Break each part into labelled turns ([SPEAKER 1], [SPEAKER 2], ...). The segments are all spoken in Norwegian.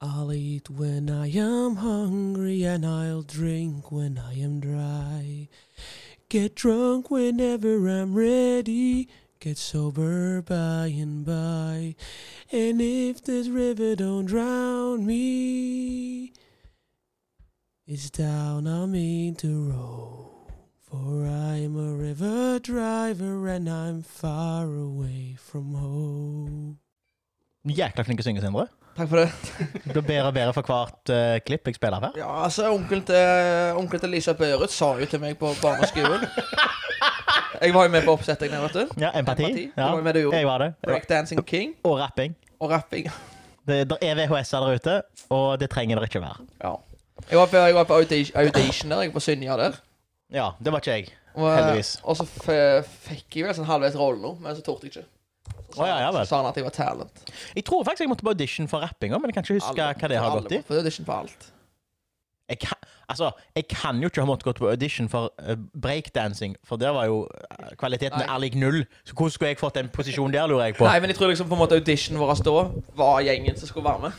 [SPEAKER 1] I'll eat when I am hungry and I'll drink when I am dry. Get drunk whenever I'm ready, get sober by and by. And if this river don't drown me, it's down I mean to row. For I'm a river driver and I'm far away from home.
[SPEAKER 2] Jækla flink til å synge, Sindre.
[SPEAKER 3] Takk for det.
[SPEAKER 2] Du blir bedre og bedre for hvert eh, klipp jeg spiller her.
[SPEAKER 3] Ja, altså, onkelen til, onkelen til Lisa Børud sa jo til meg på barneskolen Jeg var jo med på oppsettingen, vet du.
[SPEAKER 2] Ja, Empati.
[SPEAKER 3] Empati. Det
[SPEAKER 2] Ja.
[SPEAKER 3] var jo med du gjorde.
[SPEAKER 2] Jeg var det.
[SPEAKER 3] Breakdancing King
[SPEAKER 2] Og rapping.
[SPEAKER 3] og rapping.
[SPEAKER 2] Det der er VHS-er der ute, og det trenger det ikke være.
[SPEAKER 3] Ja. Jeg var på, jeg var på audi- audition der, jeg var på Synja der.
[SPEAKER 2] Ja, det var ikke jeg.
[SPEAKER 3] Og, eh,
[SPEAKER 2] Heldigvis.
[SPEAKER 3] Og så f fikk jeg vel sånn halvveis rollen nå, men så torde jeg ikke. Så
[SPEAKER 2] Å, ja, ja vel.
[SPEAKER 3] så sa han at jeg var talent.
[SPEAKER 2] Jeg tror faktisk jeg måtte på audition for rapping òg, men jeg kan ikke huske hva det har
[SPEAKER 3] Alle
[SPEAKER 2] gått i.
[SPEAKER 3] må på audition for alt.
[SPEAKER 2] Jeg kan, altså, jeg kan jo ikke ha måttet gå på audition for eh, breakdancing, for der var jo eh, kvaliteten
[SPEAKER 3] Nei.
[SPEAKER 2] er lik null. Så hvordan skulle jeg fått den posisjonen der, lurer jeg på.
[SPEAKER 3] Nei, men jeg tror liksom på en måte auditionen vår da var gjengen som skulle være med.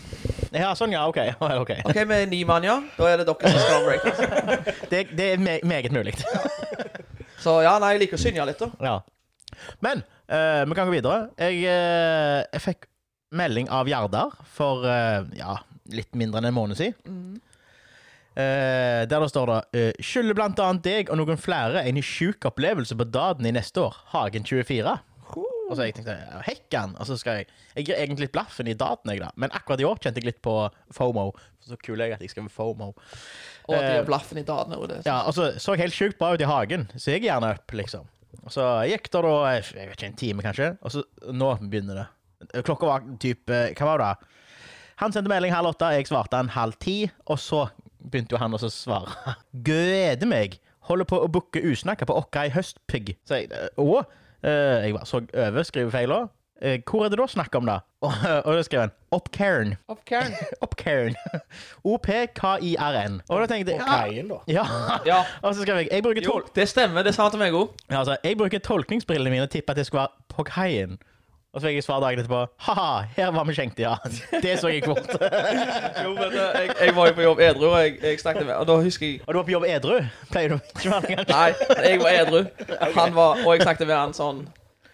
[SPEAKER 2] Ja, sånn, ja, ok. Ja, ok.
[SPEAKER 3] OK, vi er ni mann, ja. Da er det dere som skal ha breakdance.
[SPEAKER 2] Det, det er me meget mulig.
[SPEAKER 3] Så ja, nei, jeg liker å synge litt, da.
[SPEAKER 2] Ja. Men eh, vi kan gå videre. Jeg, eh, jeg fikk melding av Gjerdar for eh, ja, litt mindre enn en måned siden. Eh, der det står det eh, Skylder blant annet deg og noen flere en sjuk opplevelse på daden i neste år. Hagen 24. Og så jeg tenkte ja, hekkan. Og så skal jeg Jeg gir egentlig litt blaffen i daten, jeg, da. Men akkurat i år kjente jeg litt på FOMO. Så kul er jeg at jeg skrev FOMO.
[SPEAKER 3] Og de
[SPEAKER 2] Eh,
[SPEAKER 3] er blaffen i dagen og det.
[SPEAKER 2] Ja, altså, så helt sjukt bra ut i hagen, så jeg gikk gjerne opp, liksom. Og så gikk det da, jeg vet ikke, en time kanskje, og så nå begynner det. Klokka var typ, eh, hva var det da? Han sendte melding halv åtte, jeg svarte han halv ti, og så begynte jo han også å svare. Gleder meg! Holder på å bukke usnakka på Åkra i høstpigg. Så jeg, eh, å, eh, jeg bare så over, skriver feil også. Eh, Hvor er det da snakk om da? Og, og da skriver han, opp Karen.
[SPEAKER 3] Opp, Karen.
[SPEAKER 2] Opp Karen. O-P-K-I-R-N. Og da tenkte jeg,
[SPEAKER 4] Og
[SPEAKER 2] ah,
[SPEAKER 4] kaien, da.
[SPEAKER 2] ja.
[SPEAKER 3] Ja.
[SPEAKER 2] Og så skrev jeg jeg bruker,
[SPEAKER 3] Jo,
[SPEAKER 2] tol
[SPEAKER 3] det stemmer. Det sa han til meg òg.
[SPEAKER 2] ja, altså, jeg bruker tolkningsbrillene mine og tipper at jeg skulle være på kaien. Og så fikk jeg svar dagen etterpå. Ha-ha, her var vi skjenkt, ja. Det så jeg fort.
[SPEAKER 3] eh, Jeg, jeg var jo på jobb edru, og jeg, jeg snakket med Og da husker jeg
[SPEAKER 2] Og du var på jobb edru? Pleier du ikke å være det? kanskje?
[SPEAKER 3] Nei, jeg var edru. Han var, og jeg snakket med han sånn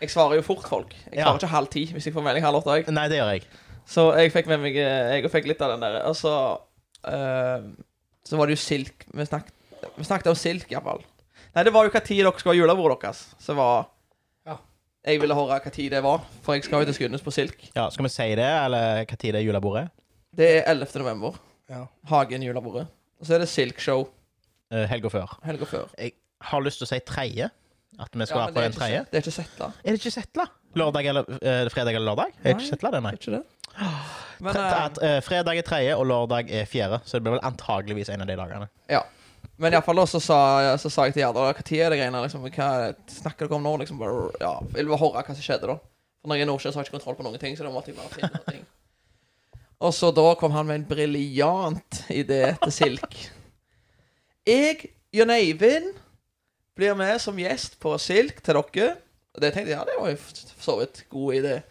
[SPEAKER 3] Jeg svarer jo fort folk. Jeg
[SPEAKER 2] Ja.
[SPEAKER 3] svarer ikke halv ti hvis jeg får melding halv åtte. Jeg.
[SPEAKER 2] Nei, det gjør jeg.
[SPEAKER 3] Så jeg fikk med meg eh, Jeg fikk litt av den der. Og så eh, Så var det jo silk. Vi snakket, vi snakket om silk, iallfall. Nei, det var jo hva tid dere skulle ha julebordet deres. Så var
[SPEAKER 4] Ja.
[SPEAKER 3] Jeg ville høre hva tid det var, for jeg skal jo til Skudenes på silk.
[SPEAKER 2] Ja, Skal vi si det, eller hva tid det er julebordet?
[SPEAKER 3] Det er 11. november.
[SPEAKER 4] Ja.
[SPEAKER 3] Hagen julebordet. Og så er det silkshow
[SPEAKER 2] Eh, Helga før.
[SPEAKER 3] helga før.
[SPEAKER 2] Jeg har lyst til å si tredje. At vi skal
[SPEAKER 3] Ja,
[SPEAKER 2] være
[SPEAKER 3] men
[SPEAKER 2] på
[SPEAKER 3] det er
[SPEAKER 2] den
[SPEAKER 3] ikke
[SPEAKER 2] tredje.
[SPEAKER 3] sett- Det er ikke sett, da.
[SPEAKER 2] Er det ikke Setla? Lørdag eller eh, Fredag eller lørdag? Er det
[SPEAKER 3] Nei.
[SPEAKER 2] ikke Setla, det, nei.
[SPEAKER 3] Er ikke det? Men,
[SPEAKER 2] Tre-
[SPEAKER 3] eh,
[SPEAKER 2] at, eh, fredag er tredje, og lørdag er fjerde. Så det blir vel antageligvis en av de dagene.
[SPEAKER 3] men iallfall da så sa, så sa jeg til Gjerdal hva tid er det greiene liksom, Hva snakker dere om nå? Liksom, bare, ja, vil bare høre hva som skjedde, da. For når jeg er i Nordsjøen, så har jeg ikke kontroll på noen ting. Så da måtte jeg bare finne noen ting Og så da kom han med en briljant idé til Silk. Jeg, Jon Eivind, blir med som gjest på Silk til dere. Og det tenkte jeg, ja, det var jo for så vidt god idé.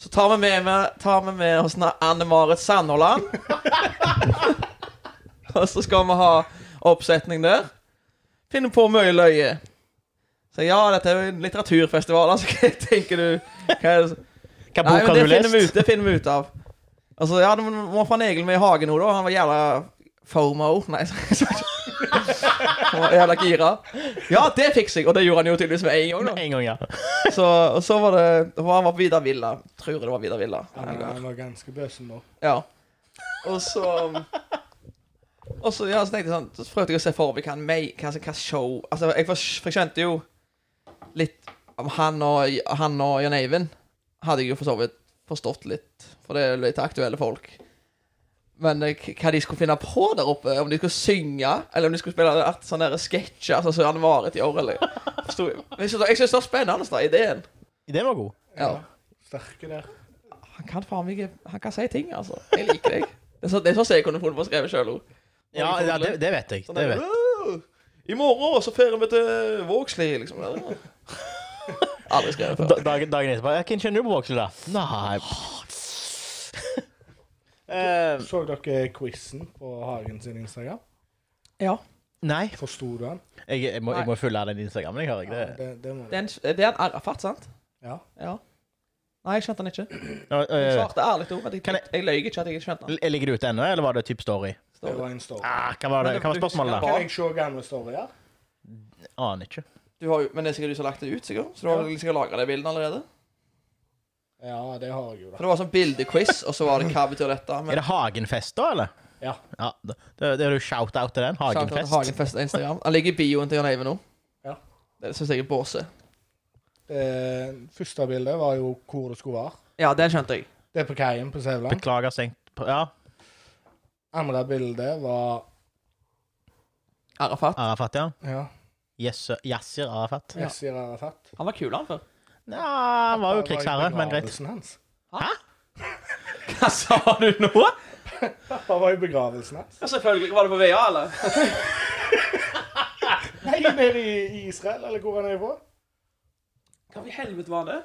[SPEAKER 3] Så tar vi med, med, tar vi med oss na- Anne Marit Sandhåland. Og så skal vi ha oppsetning der. Finne på mye løye. Så ja, dette er jo en litteraturfestival, altså. Hva tenker du? Hva er det? som-
[SPEAKER 2] Hva bok
[SPEAKER 3] Nei, men
[SPEAKER 2] har
[SPEAKER 3] det
[SPEAKER 2] du
[SPEAKER 3] finner vi
[SPEAKER 2] lest?
[SPEAKER 3] ut, det finner vi ut av. Altså, ja, det må- må få han Egil med i hagen nå, da. Han var jævla FOMO. Nei, så- Han var jævla gira. Ja, det fikser jeg! Og det gjorde han jo tydeligvis med en gang. da.
[SPEAKER 2] Med en gang, ja.
[SPEAKER 3] Så, og så var det og Han var på Vidar Villa. Tror jeg det var Vidar Villa.
[SPEAKER 4] Han, han var ganske bøsen nå.
[SPEAKER 3] Ja. Og så um, Og så, ja, så tenkte jeg sånn Så prøvde jeg å se for meg hva, han mei- hva, hva show Altså, jeg, for, for jeg skjønte jo litt om han og, han og Jan Eivind. Hadde jeg jo for så vidt forstått litt, for det er jo litt aktuelle folk. Men eh, k- hva de skulle finne på der oppe, om de skulle synge, eller om de skulle spille at- sånne der sketsjer, altså så han varet i år, eller forstod jeg. Men jeg synes- Jeg syns det var spennende, da, ideen.
[SPEAKER 2] Ideen var god.
[SPEAKER 3] Ja.
[SPEAKER 4] Sterke der.
[SPEAKER 3] Han kan faen meg ikke- Han kan si ting, altså. Jeg liker deg. Det er så- det er sånn som jeg kunne funnet på å skrive sjøl.
[SPEAKER 2] Ja, ja det, det vet jeg. Sånn Det vet.
[SPEAKER 3] I morgen så drar vi til Vågsli, liksom. Aldri skrevet før.
[SPEAKER 2] Da- Dagen, dagen etterpå. Jeg kan kjenne du på Vågsøy, da. Nei. Eh,
[SPEAKER 4] Så dere quizen på Hagen sin Instagram?
[SPEAKER 3] Ja.
[SPEAKER 2] nei,
[SPEAKER 4] Forsto du den?
[SPEAKER 2] jeg, jeg, må, jeg må følge den Instagramen. Jeg har ikke det.
[SPEAKER 4] det, det må
[SPEAKER 3] Det er en, det er en Arafat, sant?
[SPEAKER 4] Ja.
[SPEAKER 3] Ja. Nei, jeg skjønte den ikke.
[SPEAKER 2] Nå,
[SPEAKER 3] Jeg
[SPEAKER 2] eh,
[SPEAKER 3] svarte ærlig òg, men jeg,
[SPEAKER 2] Kan
[SPEAKER 3] jeg,
[SPEAKER 2] jeg-
[SPEAKER 3] løy ikke at jeg ikke skjønte den.
[SPEAKER 2] l- ligger det ute ennå, eller var det type story?
[SPEAKER 4] Det
[SPEAKER 3] Står det.
[SPEAKER 4] var en story.
[SPEAKER 2] Ah, hva var, det? Hva var spørsmålet, da?
[SPEAKER 4] Kan jeg se gamle storyer?
[SPEAKER 2] Aner ikke.
[SPEAKER 3] Du har, jo- men det er sikkert du som har lagt det ut, sikkert? Så du har sikkert lagra det bildet allerede?
[SPEAKER 4] Ja, det har jeg jo,
[SPEAKER 3] For
[SPEAKER 4] da.
[SPEAKER 3] det var sånn bildequiz, og så var det 'hva betyr dette?'
[SPEAKER 2] Er det Hagenfest, da, eller?
[SPEAKER 4] Ja.
[SPEAKER 2] Ja, da- det, det er jo shout-out til den. Hagenfest.
[SPEAKER 3] Hagenfest på Instagram. Han ligger i bioen til Jan Eivind nå.
[SPEAKER 4] Ja.
[SPEAKER 3] Det syns jeg er båse.
[SPEAKER 4] Det første bildet var jo hvor det skulle være.
[SPEAKER 3] Ja, den skjønte jeg.
[SPEAKER 4] Det er på kaien på Sævland.
[SPEAKER 2] Beklager stengt på- Ja,
[SPEAKER 4] Andre bildet var
[SPEAKER 3] Arafat.
[SPEAKER 2] Arafat, ja.
[SPEAKER 4] ja,
[SPEAKER 2] Yes- Yasir Arafat.
[SPEAKER 3] Ja.
[SPEAKER 4] Yasir Arafat.
[SPEAKER 3] Han var kul, han før.
[SPEAKER 2] Nja, han var jo krigsherre, men greit.
[SPEAKER 4] begravelsen hans.
[SPEAKER 3] Hva sa du nå?
[SPEAKER 4] Pappa var i begravelsen hans.
[SPEAKER 3] selvfølgelig. Var det på VA, eller?
[SPEAKER 4] Nei, nede i i Israel, eller hvor han er fra.
[SPEAKER 3] Hva i helvete var det?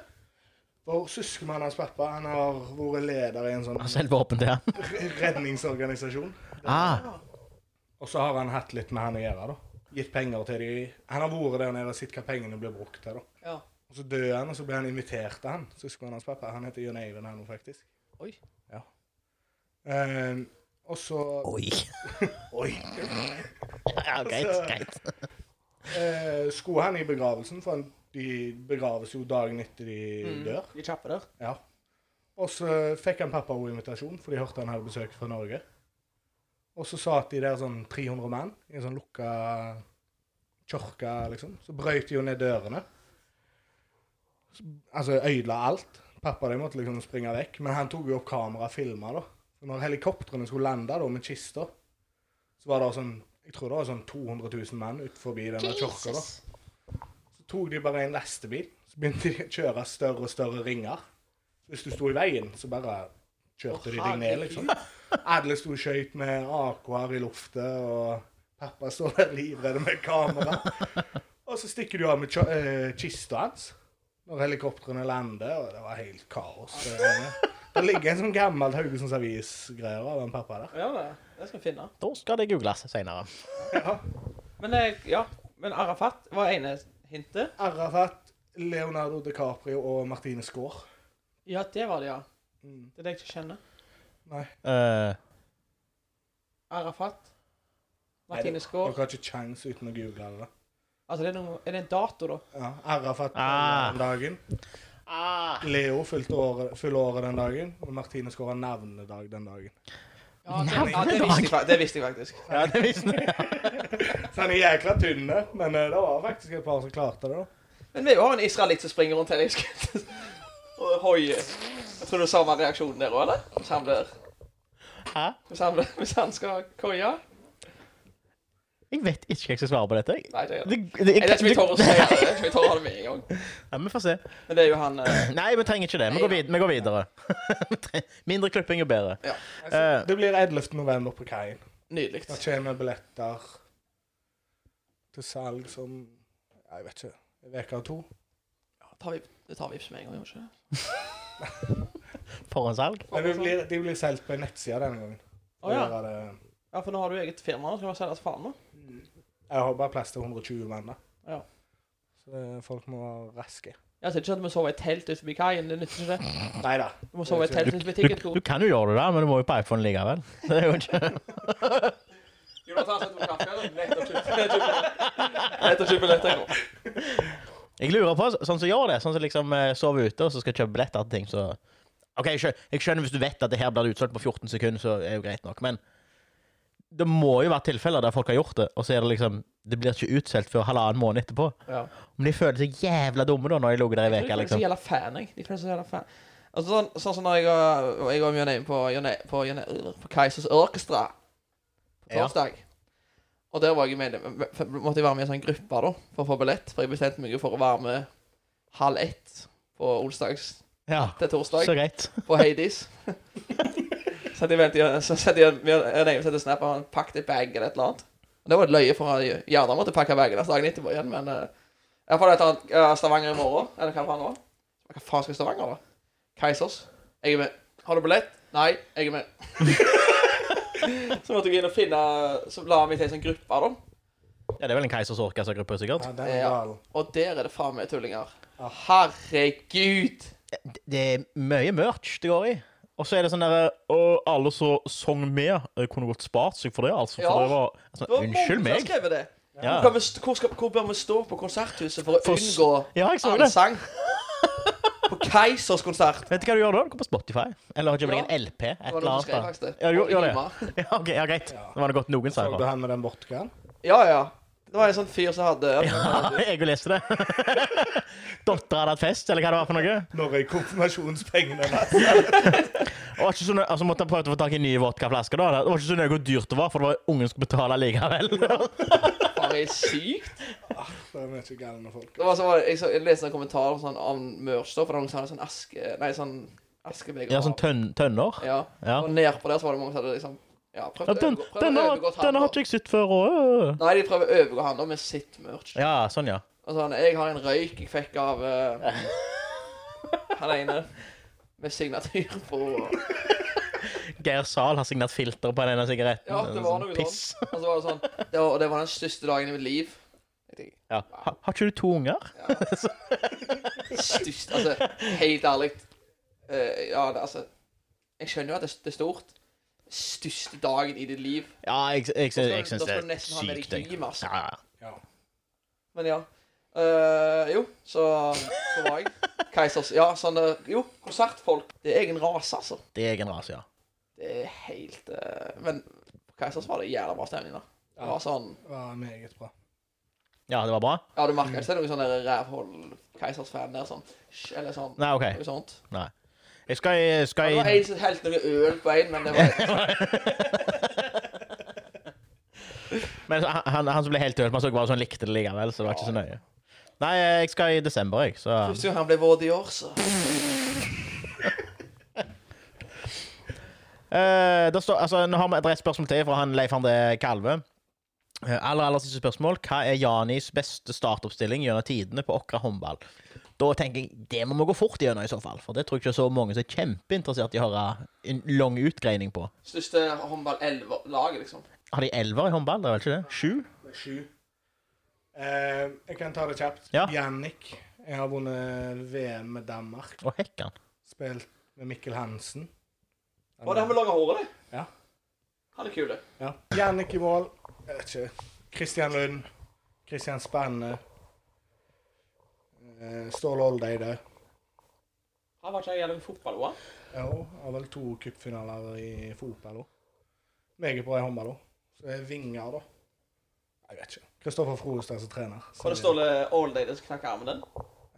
[SPEAKER 4] Og søskenmannen hans pappa han har vært leder i en sånn
[SPEAKER 2] Han selger våpen til han.
[SPEAKER 4] redningsorganisasjon.
[SPEAKER 2] Ah,
[SPEAKER 4] Og så har han hatt litt med han å gjøre, da. Gitt penger til de Han har vært der nede og sett hva pengene blir brukt til, da.
[SPEAKER 3] Ja.
[SPEAKER 4] Og så dør han, og så blir han invitert til han. Søskenen hans pappa. Han heter Jørn Eivind her nå, faktisk.
[SPEAKER 3] Oi.
[SPEAKER 4] Ja. Eh, og så
[SPEAKER 2] oi.
[SPEAKER 4] Oi.
[SPEAKER 2] Ja, greit,
[SPEAKER 3] Altså.
[SPEAKER 2] greit.
[SPEAKER 4] Eh, skulle han i begravelsen, for han, de begraves jo dagen etter de dør.
[SPEAKER 3] De kjappe der.
[SPEAKER 4] Ja. Og så fikk han pappa også invitasjon, for de hørte han hadde besøk fra Norge. Og så satt de der sånn 300 mann i en sånn lukka kirke, liksom. Så brøyt de jo ned dørene. Så, altså ødela alt. Pappa de måtte liksom springe vekk. Men han tok jo opp kamera og filma, da. Så når helikoptrene skulle lande da, med kista, så var det sånn Jeg tror det var sånn 200 000 mann ut forbi denne kirka, da. Så tok de bare en lastebil, så begynte de å kjøre større og større ringer. Hvis du sto i veien, så bare kjørte de deg ned, liksom. Alle sto og skøyt med AK-er i lufta, og pappa står der livredd med kamera. Og så stikker du av med kjø- eh, kista hans når helikoptrene lander, og det var helt kaos. Det var- Det ligger en sånn gammel Haugesunds Avis-greier av den pappa der.
[SPEAKER 3] Ja, det det skal vi finne.
[SPEAKER 2] Da skal det googles senere.
[SPEAKER 3] Men eh, ja, men Arafat var ene hintet.
[SPEAKER 4] Arafat, Leonardo DiCaprio og Martine Skaar.
[SPEAKER 3] Ja, det var det, ja.
[SPEAKER 4] Mm.
[SPEAKER 3] Det er det jeg ikke kjenner.
[SPEAKER 4] Nei,
[SPEAKER 2] Eh,
[SPEAKER 3] Arafat.
[SPEAKER 4] Nei,
[SPEAKER 3] Martine
[SPEAKER 4] dere
[SPEAKER 3] Skaar.
[SPEAKER 4] har ikke kjangs uten å google det.
[SPEAKER 3] Altså, det er, noe, er det en dato, da?
[SPEAKER 4] Ja, Arafat
[SPEAKER 2] Ah.
[SPEAKER 4] den dagen.
[SPEAKER 2] ah.
[SPEAKER 4] Leo fylte året, fyller året den dagen, og Martine skåra navnedag den dagen.
[SPEAKER 3] Ja, det,
[SPEAKER 2] Nei,
[SPEAKER 3] ja, det,
[SPEAKER 2] dag.
[SPEAKER 3] visste, jeg, fa- det visste jeg faktisk.
[SPEAKER 2] Ja, det visste jeg.
[SPEAKER 4] Så han er jækla tynn, men eh, det var faktisk et par som klarte det. da.
[SPEAKER 3] Men vi har en israelitt som springer rundt her i skudd. Og hoier. Jeg tror det er samme reaksjon der òg, eller? Hvis han blir
[SPEAKER 2] Hæ?
[SPEAKER 3] Hvis han, blir, hvis han skal koie?
[SPEAKER 2] Jeg vet ikke hva jeg skal svare på dette. jeg.
[SPEAKER 3] Nei, det er det.
[SPEAKER 2] Det, det,
[SPEAKER 3] Nei, det er ikke vi tør å si
[SPEAKER 2] det.
[SPEAKER 3] det. det er ikke vi tør å ha det med en gang.
[SPEAKER 2] Ja, vi får se.
[SPEAKER 3] Men det er jo han eh,
[SPEAKER 2] Nei, vi trenger ikke det. Vi går, vid vi går videre. Vi tre- Mindre klipping er bedre.
[SPEAKER 3] Ja.
[SPEAKER 2] Eh,
[SPEAKER 4] Det blir 11. november på kaien.
[SPEAKER 3] Nydelig.
[SPEAKER 4] Det kommer billetter til salg som Jeg vet ikke. En uke eller to.
[SPEAKER 3] Ja, tar vi- Det tar vi ikke med en gang, gjør vi ikke det?
[SPEAKER 2] Forhåndssalg.
[SPEAKER 4] Men de blir, de blir solgt på en nettside denne gangen.
[SPEAKER 3] Å ja.
[SPEAKER 4] Der er det-
[SPEAKER 3] ja, for nå har du eget firma. Nå skal vi selge oss faen nå.
[SPEAKER 4] Jeg har bare plass til 120 mann. da.
[SPEAKER 3] Ja.
[SPEAKER 4] Så det, folk må være raske.
[SPEAKER 3] Ja, så det er ikke sånn at vi sover i telt ute forbi kaien. Det nytter ikke, det.
[SPEAKER 4] Nei da.
[SPEAKER 3] Du må sove i telt ute forbi
[SPEAKER 2] Du, du
[SPEAKER 3] ticketkoden.
[SPEAKER 2] kan jo gjøre det, da, men du må jo på iPhone likevel. Det er jo ikke
[SPEAKER 3] Jonathan setter på kaffe, eller? Nettopp kjøpt billetter.
[SPEAKER 2] Jeg lurer på, sånn som gjør det, sånn som liksom eh, sover ute og så skal kjøpe billetter til ting, så OK, jeg skjønner, jeg skjønner hvis du vet at det her blir utsolgt på 14 sekunder, så er det jo greit nok, men det må jo være tilfeller der folk har gjort det, og så er det liksom Det blir ikke utsolgt før halvannen måned etterpå.
[SPEAKER 3] Ja.
[SPEAKER 2] Men de føler seg jævla dumme da, når de ligger der i
[SPEAKER 3] Jeg
[SPEAKER 2] veka,
[SPEAKER 3] er
[SPEAKER 2] liksom.
[SPEAKER 3] så jævla fan, jeg. De føler seg så jævla fan. Altså, sånn, sånn som når jeg var, jeg var med Jørn Eivind på, Jørn- på, Jørn- på Keisers Orkestra på
[SPEAKER 2] Ja.
[SPEAKER 3] torsdag. Og der var jeg medlem, måtte jeg være med i en sånn gruppe da, for å få billett. For jeg bestemte meg jo for å være med halv ett på onsdags
[SPEAKER 2] Ja,
[SPEAKER 3] til torsdag
[SPEAKER 2] så greit.
[SPEAKER 3] på Hades. så de venter, så setter jeg en egen setter snap, og han pakket bag eller et eller annet. Og det var et løye, for han gjerne måtte pakke bagen hans dagen etterpå igjen, men eh, Jeg får et eller annet eh, Stavanger i morgen, eller hva faen det var. Hva faen skal jeg i Stavanger, da? Keisers. Jeg er med. Har du billett? Nei, jeg er med. så måtte jeg inn og finne Så la han meg til en sånn gruppe, da.
[SPEAKER 2] Ja, det er vel en Keisers Orkas-gruppe, sikkert.
[SPEAKER 4] Ja, den er
[SPEAKER 3] Ja.
[SPEAKER 4] gal.
[SPEAKER 3] Og der er det faen meg tullinger.
[SPEAKER 2] Ah.
[SPEAKER 4] Ja.
[SPEAKER 3] Herregud!
[SPEAKER 2] Det- Eh, Det er mye merch det går i. Og så er det sånn derre Og alle som sang med, eh, kunne godt spart seg for det, altså. For
[SPEAKER 3] Ja.
[SPEAKER 2] det var
[SPEAKER 3] Det var
[SPEAKER 2] sånn,
[SPEAKER 3] mange som
[SPEAKER 2] Unnskyld meg.
[SPEAKER 3] skrev det.
[SPEAKER 2] Ja.
[SPEAKER 3] Hvor, kan vi st- hvor, skal, hvor bør vi stå på konserthuset for å
[SPEAKER 2] For s-
[SPEAKER 3] unngå
[SPEAKER 2] ja, jeg så det.
[SPEAKER 3] allsang? På Keisers konsert.
[SPEAKER 2] Vet du hva du gjør da? Du går på Spotify. Eller har ikke vel
[SPEAKER 3] Ja.
[SPEAKER 2] en LP? Et
[SPEAKER 3] Det var
[SPEAKER 2] eller
[SPEAKER 3] noen som
[SPEAKER 2] annet.
[SPEAKER 3] skrev
[SPEAKER 2] da.
[SPEAKER 3] faktisk det.
[SPEAKER 2] Ja, jo, gjør det.
[SPEAKER 3] Rima.
[SPEAKER 2] Ja, ok, ja, greit. Det var det godt noen sa.
[SPEAKER 4] Så
[SPEAKER 2] jeg
[SPEAKER 4] du
[SPEAKER 2] bare.
[SPEAKER 4] han med den vodkaen?
[SPEAKER 3] Ja, ja. Det var en sånn fyr som hadde
[SPEAKER 2] Ja, jeg jo leste det. Dattera hadde hatt fest, eller hva det var for noe.
[SPEAKER 4] Når er konfirmasjonspengene der?
[SPEAKER 2] Og ikke så nø altså, måtte jeg prøve å få tak i nye vodkaflasker. da. Det var ikke så nøye hvor dyrt det var, for det var ungen skulle betale likevel.
[SPEAKER 3] Bare helt sykt.
[SPEAKER 4] Det er mye galne folk.
[SPEAKER 3] Det var så, var det- jeg, så, jeg leste en kommentar om sånn om merch, da, for noen som hadde sånn aske... Nei, sånn askebeger.
[SPEAKER 2] Ja, sånn tønn tønner.
[SPEAKER 3] Ja.
[SPEAKER 2] Ja.
[SPEAKER 3] Og ned på der så var det mange som hadde liksom ja, prøvd
[SPEAKER 2] Ja, den,
[SPEAKER 3] å overgå- prøvd å
[SPEAKER 2] denne,
[SPEAKER 3] overgå
[SPEAKER 2] har-
[SPEAKER 3] et
[SPEAKER 2] denne har
[SPEAKER 3] handler.
[SPEAKER 2] ikke jeg sett før. Og...
[SPEAKER 3] Nei, de prøver å overgå han da med sitt merch.
[SPEAKER 2] Ja, sånn, ja.
[SPEAKER 3] Og sånn, jeg har en røyk jeg fikk av eh, han ene med signatur på Og
[SPEAKER 2] Geir Zahl har signert filter på denne sigaretten.
[SPEAKER 3] Ja, det var noe sånn.
[SPEAKER 2] Piss.
[SPEAKER 3] så var det sånn det var, Og det var den største dagen i mitt liv. Jeg tenker,
[SPEAKER 2] Ja. Ha, har ikke du to unger?
[SPEAKER 3] Størst Altså, helt ærlig eh, Ja, det, altså Jeg skjønner jo at det, det er stort. Største dagen i ditt liv.
[SPEAKER 2] Ja, jeg, jeg,
[SPEAKER 3] Da
[SPEAKER 2] jeg,
[SPEAKER 3] skal-
[SPEAKER 2] jeg syns det
[SPEAKER 3] da skal du
[SPEAKER 2] er
[SPEAKER 3] nesten ha med deg
[SPEAKER 2] sykt. jeg.
[SPEAKER 3] hjem, altså.
[SPEAKER 2] Ja, ja.
[SPEAKER 4] Ja.
[SPEAKER 3] Men ja. Eh, jo, så Så var jeg. Keisers Ja, sånn eh, Jo, konsertfolk. Det er egen rase, altså.
[SPEAKER 2] Det er egen rase, ja.
[SPEAKER 3] Det er helt eh, Men på Keisers var det jævla bra stemning, da. Det var sånn
[SPEAKER 4] Ja, meget bra.
[SPEAKER 2] Ja, det var bra?
[SPEAKER 3] Ja, du merker ikke det er noe sånn der rævhold Keisers-fan der, sånn «Sj», Eller sånn.
[SPEAKER 2] Nei, OK.
[SPEAKER 3] Noe sånt.
[SPEAKER 2] Jeg skal i
[SPEAKER 3] Ja,
[SPEAKER 2] skal
[SPEAKER 3] det var
[SPEAKER 2] i-
[SPEAKER 3] en som helte noe øl på en, men det var
[SPEAKER 2] Men han, han, han som ble helt ødelagt, man så ikke bare sånn likte det likevel, så det var ikke så nøye. Nei, jeg skal i desember, jeg, så
[SPEAKER 3] Første gang han ble våt i år, så
[SPEAKER 2] Eh, det står, altså, Nå har vi et rett spørsmål til fra han Leif André Kalve. Eh, aller aller siste spørsmål. Hva er Janis beste startoppstilling gjennom tidene på Åkra håndball? Da tenker jeg det må vi gå fort gjennom, i så fall. For det tror jeg ikke det er så mange som er kjempeinteressert i å høre en lang utgreining på.
[SPEAKER 3] Største håndball-laget, liksom.
[SPEAKER 2] Har de elver i håndball? Det er vel ikke det? Sju?
[SPEAKER 4] Det er sju. Eh, jeg kan ta det kjapt.
[SPEAKER 2] Ja.
[SPEAKER 4] Jannik. Jeg har vunnet VM med Danmark.
[SPEAKER 2] Å, hekkan.
[SPEAKER 4] Spilt med Mikkel Hansen.
[SPEAKER 3] Var det han med lange håret, det?
[SPEAKER 4] Ja.
[SPEAKER 3] Han er kul, det.
[SPEAKER 4] Ja. Jannik i mål. Jeg vet ikke. Kristian Lund. Kristian Spanne. Eh, Ståle Oldeide.
[SPEAKER 3] Han var ikke en jævla fotball, var han?
[SPEAKER 4] Ja, og har vel to cupfinaler i fotball òg. Meget bra i håndball òg. Så er vinger, da. Jeg vet ikke. Kristoffer Froestad som trener.
[SPEAKER 3] Var det Ståle Allday som knakk armen din?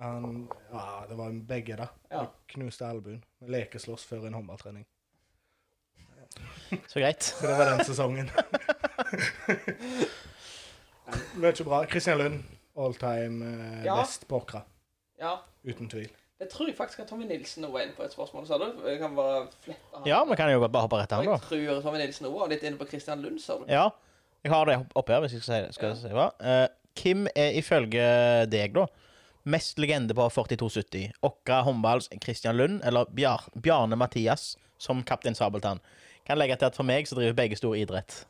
[SPEAKER 4] Han, ja, det var begge, da.
[SPEAKER 3] Ja.
[SPEAKER 4] Han Knuste albuen. Vi lekeslåss før en håndballtrening.
[SPEAKER 2] Så greit.
[SPEAKER 4] Så det var den sesongen. Mye bra. Kristian Lund, all time eh,
[SPEAKER 3] Ja.
[SPEAKER 4] best på Åkra.
[SPEAKER 3] Ja.
[SPEAKER 4] Uten tvil.
[SPEAKER 3] Det tror jeg faktisk at Tommy Nilsen nå er inne på et spørsmål, sa du? Jeg kan bare flette han.
[SPEAKER 2] Ja, vi kan jo bare hoppe rett til
[SPEAKER 3] Og
[SPEAKER 2] han, da.
[SPEAKER 3] jeg tror Tommy Nilsen nå var litt inne på Christian Lund, sa du.
[SPEAKER 2] Ja. Jeg har det oppe her, hvis jeg skal si, skal si hva. Eh, Kim er ifølge deg, da, mest legende på 4270. Åkra håndballs Christian Lund eller Bjar Bjarne Mathias som kaptein Sabeltann. Kan legge til at for meg så driver begge stor idrett.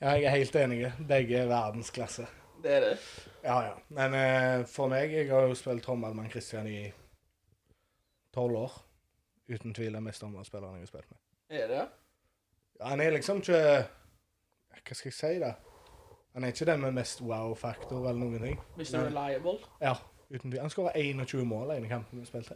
[SPEAKER 4] Ja, jeg er helt enig. Begge er verdensklasse.
[SPEAKER 3] Det er det.
[SPEAKER 4] Ja, ja. Men eh, for meg Jeg har jo spilt håndball med Kristian i tolv år. Uten tvil den beste håndballspilleren jeg har spilt med.
[SPEAKER 3] Er det, ja?
[SPEAKER 4] Ja, Han er liksom ikke Hva skal jeg si, da? Han er ikke den med mest wow-faktor eller noen ting.
[SPEAKER 3] Hvis du er liable.
[SPEAKER 4] Ja, uten tvil. Han skåra 21 mål i den kampen vi spilte.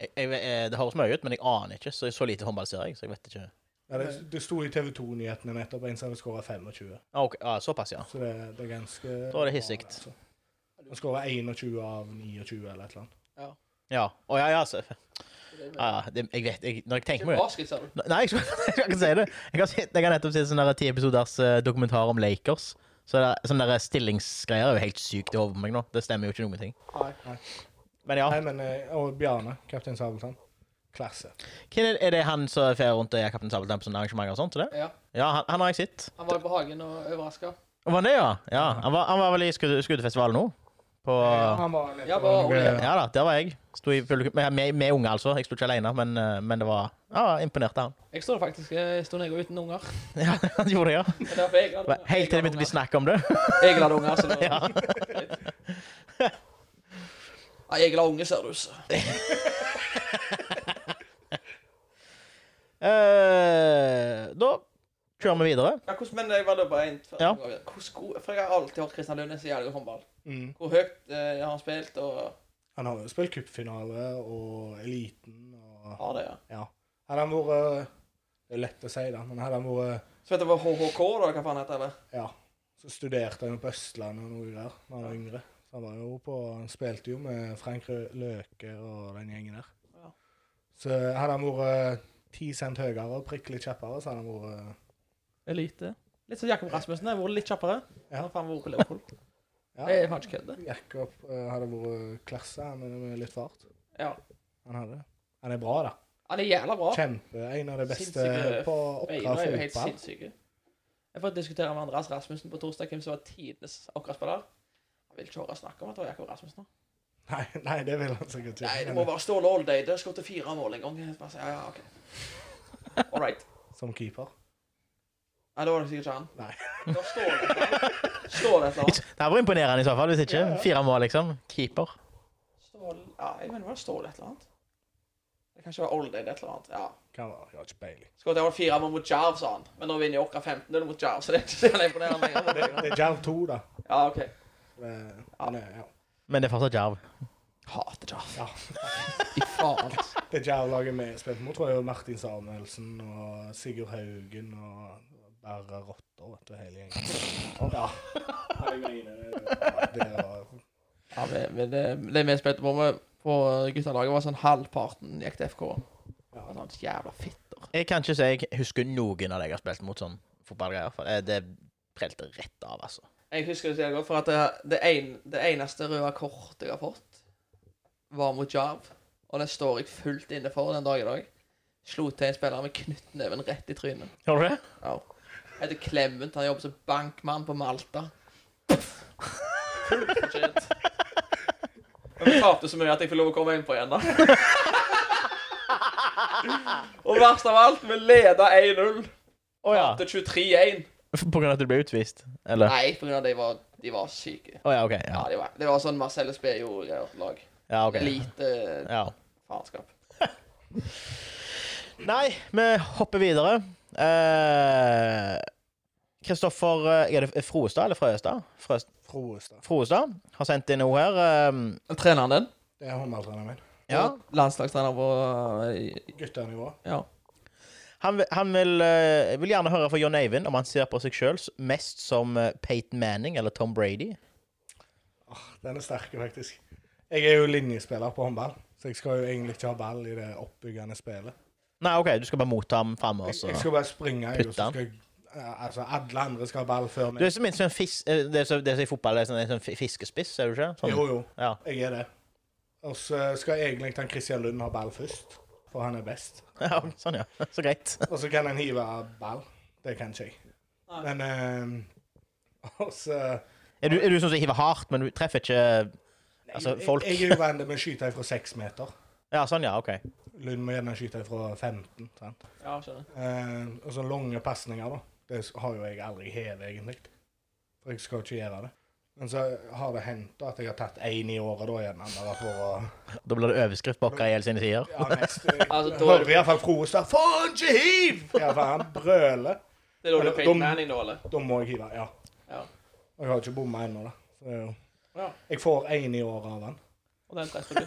[SPEAKER 2] Jeg, jeg, eh, det høres mye ut, men jeg aner ikke. Så, så lite håndball ser jeg, så jeg vet ikke.
[SPEAKER 4] Ja, det, det sto i TV 2-nyhetene nettopp en som hadde skåra 25.
[SPEAKER 2] Ah, ok, ah, såpass, ja.
[SPEAKER 4] Så det, det er ganske
[SPEAKER 2] Da er det hissigt.
[SPEAKER 4] bra, altså. Han skåra 21 av 29 eller et eller annet.
[SPEAKER 2] Ja. Å ja, ja. Så,
[SPEAKER 3] Det er det.
[SPEAKER 2] ja, ja det, jeg vet jeg, Når jeg tenker meg
[SPEAKER 3] Ikke
[SPEAKER 2] ut
[SPEAKER 3] basket, sa du.
[SPEAKER 2] Nei, jeg skal, jeg skal ikke si det. Jeg har, sett, jeg har nettopp sett sånn der ti episoders eh, dokumentar om Lakers. Så det, er- sånne der stillingsgreier er jo helt sykt i hodet på meg nå. Det stemmer jo ikke noen ting.
[SPEAKER 3] Nei.
[SPEAKER 2] Men ja.
[SPEAKER 4] Nei, men, eh, Og Bjarne, kaptein Sabeltann. Klasse.
[SPEAKER 2] Hvem er, er det han som fer rundt og er kaptein Sabeltann på sånne arrangementer og sånt? er Det?
[SPEAKER 3] Ja.
[SPEAKER 2] Ja, han, han har jeg sett.
[SPEAKER 3] Han var jo på Hagen og overraska.
[SPEAKER 2] Var han det, ja? ja han, var, han var vel i skudd, skuddfestivalen nå? På
[SPEAKER 4] Han var nede
[SPEAKER 3] Ja,
[SPEAKER 4] på
[SPEAKER 3] bare-
[SPEAKER 4] noe-
[SPEAKER 2] Ja da, der var jeg. Sto i publikum med, med, med unge, altså. Jeg sto ikke alene, men, eh, men det var Ja, imponerte han.
[SPEAKER 3] Jeg står faktisk jeg står nede uten unger.
[SPEAKER 2] Ja, han gjorde det, ja.
[SPEAKER 3] Det er derfor jeg glad unger.
[SPEAKER 2] Helt til det begynte å bli snakk om det.
[SPEAKER 3] Jeg glad unger, så det var... Nei, jeg glad unge, ser du. så.
[SPEAKER 2] Eh, da kjører vi videre.
[SPEAKER 3] Ja, hvordan, men jeg var det bare en før-
[SPEAKER 2] Ja.
[SPEAKER 3] Hvordan god- For jeg har alltid hørt Kristian Lønnes så jævlig god håndball.
[SPEAKER 4] Mm.
[SPEAKER 3] Hvor høyt eh, har han spilt, og
[SPEAKER 4] Han har jo spilt cupfinale og Eliten og
[SPEAKER 3] har det, ja.
[SPEAKER 4] Ja. Hadde han vært Det er lett å si, da, men hadde han vært
[SPEAKER 3] Så vet du hva HHK, da, hva faen heter det?
[SPEAKER 4] Ja. Så studerte han jo på Østlandet og noe greier da han var yngre. Så han var jo på Han spilte jo med Frank Rø- Løke og den gjengen der.
[SPEAKER 3] Ja.
[SPEAKER 4] Så hadde han vært eh, ti cent høyere og prikk litt kjappere, så hadde han vært eh,
[SPEAKER 3] Elite. Litt som Jakob Rasmussen. Jeg har vært litt kjappere.
[SPEAKER 4] Ja.
[SPEAKER 3] Han har faen vært på Liverpool.
[SPEAKER 4] Ja.
[SPEAKER 3] Jeg er faen ikke kødd. det.
[SPEAKER 4] Jakob eh, hadde vært klasse han er med litt fart.
[SPEAKER 3] Ja.
[SPEAKER 4] Han hadde. Han er bra, da.
[SPEAKER 3] Han er jævla bra.
[SPEAKER 4] Kjempe. En av de beste
[SPEAKER 3] Sinnssyke
[SPEAKER 4] på
[SPEAKER 3] Beina er
[SPEAKER 4] oppdrag for
[SPEAKER 3] jo helt
[SPEAKER 4] fotball.
[SPEAKER 3] sinnssyke. Jeg får diskutere med Andreas Rasmussen på torsdag hvem som var tidenes akkurat-spiller. Han vil ikke høre snakke om at det var Jakob Rasmussen. nå.
[SPEAKER 4] Nei, nei, det vil han sikkert ikke.
[SPEAKER 3] Nei, det må være Ståle Olday. Det har skåret fire mål en gang. Jeg Bare, sier, ja, ja, ok. All right.
[SPEAKER 4] Som keeper.
[SPEAKER 3] Nei, da var det sikkert ikke han.
[SPEAKER 4] Nei.
[SPEAKER 3] Da står det et eller annet. Står det et eller annet.
[SPEAKER 2] Det var imponerende i så fall, hvis ikke.
[SPEAKER 4] Ja, ja.
[SPEAKER 2] Fire mål, liksom. Keeper.
[SPEAKER 3] Ståle Ja, jeg mener bare Ståle et eller annet. Det kan ikke være Olday det er et eller annet. Ja.
[SPEAKER 4] Kan være. Jeg har ikke peiling.
[SPEAKER 3] Skåret iallfall fire mål mot Jerv, sa han. Men nå vinner Jokka 15-0 mot Jerv, så det er ikke så jævlig imponerende
[SPEAKER 4] Det,
[SPEAKER 3] lenger.
[SPEAKER 4] det er Jerv 2, da.
[SPEAKER 3] Ja, OK.
[SPEAKER 4] Det, han er, ja.
[SPEAKER 2] Men det er fortsatt jerv.
[SPEAKER 3] Hater Jerv.
[SPEAKER 4] Ja.
[SPEAKER 3] Fy faen.
[SPEAKER 4] Det er Jerv-laget vi spilte mot, tror jeg. og Martin Samuelsen og Sigurd Haugen og Berre Rotter, vet du, hele gjengen. Ja. Det var
[SPEAKER 3] Ja, vi, vi, det, det vi spilte på med på guttelaget, var sånn halvparten gikk til FK.
[SPEAKER 4] Ja.
[SPEAKER 3] Sånn jævla fitter.
[SPEAKER 2] Jeg kan ikke si jeg husker noen av de jeg har spilt mot sånn fotballgreier. For det- det prelte rett av, altså.
[SPEAKER 3] Jeg husker det så jævlig godt, for at det, det, en, det eneste røde kortet jeg har fått, var mot Jerv. Og det står jeg fullt inne for den dag i dag. Slo til en spiller med knyttneven rett i trynet.
[SPEAKER 2] Gjorde du det?
[SPEAKER 3] Ja. Heter Clement, han jobber som bankmann på Malta. Fullt fortjent. Men vi tapte så mye at jeg får lov å komme inn på igjen, da. Og verst av alt, vi leda 1-0
[SPEAKER 2] Å ja.
[SPEAKER 3] til 23-1.
[SPEAKER 2] På grunn av at du ble utvist? Eller? Å
[SPEAKER 3] Nei, på grunn av at de var, de var syke.
[SPEAKER 2] ja, OK.
[SPEAKER 3] Ja,
[SPEAKER 2] Ja,
[SPEAKER 3] de var, det var sånn Marcellus Bejo-lag.
[SPEAKER 2] ja ok.
[SPEAKER 3] Lite eh,
[SPEAKER 2] Ja.
[SPEAKER 3] faenskap.
[SPEAKER 2] Nei, vi hopper videre. Eh, Kristoffer eh, Er det Froestad eller Frøestad? Frøs-
[SPEAKER 4] Froestad.
[SPEAKER 2] Froestad har sendt inn noe her. eh,
[SPEAKER 3] Treneren din?
[SPEAKER 4] Det er håndballtreneren min.
[SPEAKER 2] ja.
[SPEAKER 3] Landslagstrener på eh,
[SPEAKER 4] Guttenivå.
[SPEAKER 3] Ja.
[SPEAKER 2] Han, vil- han vil, eh, vil gjerne høre fra John Eivind om han ser på seg sjøl mest som eh, Peyton Manning eller Tom Brady.
[SPEAKER 4] Den er sterk, faktisk. Jeg er jo linjespiller på håndball, så jeg skal jo egentlig ikke ha ball i det oppbyggende spillet.
[SPEAKER 2] Nei, OK, du skal bare motta ham framme.
[SPEAKER 4] Jeg, jeg skal bare springe. Jeg, og
[SPEAKER 2] Altså, Putte
[SPEAKER 4] så
[SPEAKER 2] han.
[SPEAKER 4] skal jeg, ja, altså, alle andre skal ha ball før
[SPEAKER 2] Du
[SPEAKER 4] meg.
[SPEAKER 2] er som en sånn fis, eh, det er så, det er så i fotball, det er sånn, en sånn fi- fiskespiss, er du ikke? Sånn.
[SPEAKER 4] Jo, jo.
[SPEAKER 2] Ja.
[SPEAKER 4] Jeg er det. Og så skal egentlig han Christian Lund ha ball først, for han er best.
[SPEAKER 2] ja, sånn, ja. Så greit.
[SPEAKER 4] Og så kan han hive ball. Det kan ikke jeg. Men eh, Og så
[SPEAKER 2] Er du, er du sånn som hiver hardt, men du treffer ikke Altså, folk
[SPEAKER 4] Jeg, jeg er jo vant med å skyte fra seks meter.
[SPEAKER 2] Ja, sånn, ja. OK.
[SPEAKER 4] Lund må gjerne skyte fra 15. sant?
[SPEAKER 3] Ja, skjønner.
[SPEAKER 4] Eh, og så lange pasninger, da. Det s- har jo jeg aldri hevet, egentlig. For jeg skal ikke gjøre det. Men så har det hendt at jeg har tatt én i året, da igjen. Bare for å
[SPEAKER 2] Da blir det overskrift på Kael sine sider.
[SPEAKER 4] Ja, neste
[SPEAKER 3] Altså,
[SPEAKER 4] altså,
[SPEAKER 3] da-
[SPEAKER 4] Hører i hvert fall Froestad 'Faen, ikke hiv!' Ja, for han brøler.
[SPEAKER 3] Det er da du er
[SPEAKER 4] Dom-
[SPEAKER 3] Peyton Manning, da, eller?
[SPEAKER 4] Da må jeg hive, ja.
[SPEAKER 3] Ja.
[SPEAKER 4] Og jeg har ikke bomma ennå, da. Så det er jo
[SPEAKER 3] Ja.
[SPEAKER 4] Jeg får én i året av han.
[SPEAKER 3] Og den treffer du.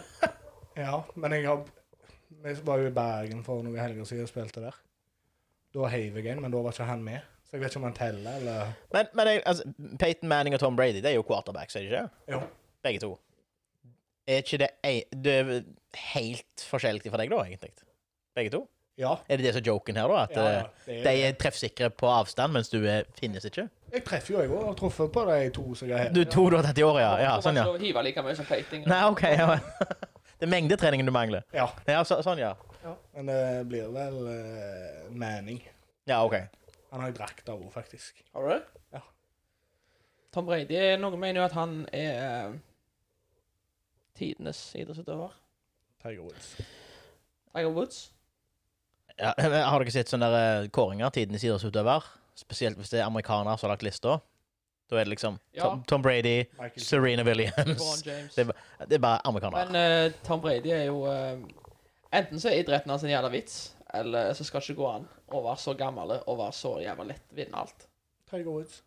[SPEAKER 4] Ja, men jeg har Vi var jo i Bergen for noen helger siden og spilte der. Da heiv jeg en, men da var ikke han med. Så jeg vet ikke om han teller, eller
[SPEAKER 2] Men, men jeg- altså, Peyton Manning og Tom Brady det er jo quarterbacks, er det ikke?
[SPEAKER 4] Jo.
[SPEAKER 2] Begge to. Er ikke det, ei- det er helt forskjellig for deg, da, egentlig? Begge to?
[SPEAKER 4] Ja.
[SPEAKER 2] Er det det som er joken her, da? At
[SPEAKER 4] ja, ja
[SPEAKER 2] eh,
[SPEAKER 4] det
[SPEAKER 2] de er treffsikre på avstand, mens du er, finnes ikke?
[SPEAKER 4] Jeg treffer jo, jeg òg. Har truffet på de to som jeg har.
[SPEAKER 2] Du tror du har tatt i året, ja. ja? Sånn, ja.
[SPEAKER 3] Hvorfor hiver like mye som peiting?
[SPEAKER 2] Nei, OK. Ja. Det er mengdetreningen du mangler.
[SPEAKER 4] Ja.
[SPEAKER 2] Ja, så, sånn, ja.
[SPEAKER 4] Men det blir vel eh, Manning.
[SPEAKER 2] Ja, OK.
[SPEAKER 4] Han har jeg drakt av òg, faktisk.
[SPEAKER 3] Har du det?
[SPEAKER 4] Ja.
[SPEAKER 3] Tom Brady, noen mener jo at han er eh, tidenes idrettsutøver.
[SPEAKER 4] Tiger Woods.
[SPEAKER 3] Tiger Woods.
[SPEAKER 2] Ja, men har dere sett sånne der, eh, kåringer tidenes idrettsutøver? Spesielt hvis det er amerikanere som har lagt lista. Da er det liksom Tom, Tom Brady,
[SPEAKER 4] Michael
[SPEAKER 2] Serena
[SPEAKER 3] LeBron
[SPEAKER 2] Williams
[SPEAKER 3] James.
[SPEAKER 2] Det Det er bare amerikanere.
[SPEAKER 3] Men eh, Tom Brady er jo eh, Enten så er idretten hans en jævla vits, eller så skal det ikke gå an å være så gammel og være så jævla lett vinne alt.
[SPEAKER 4] Tiger Woods.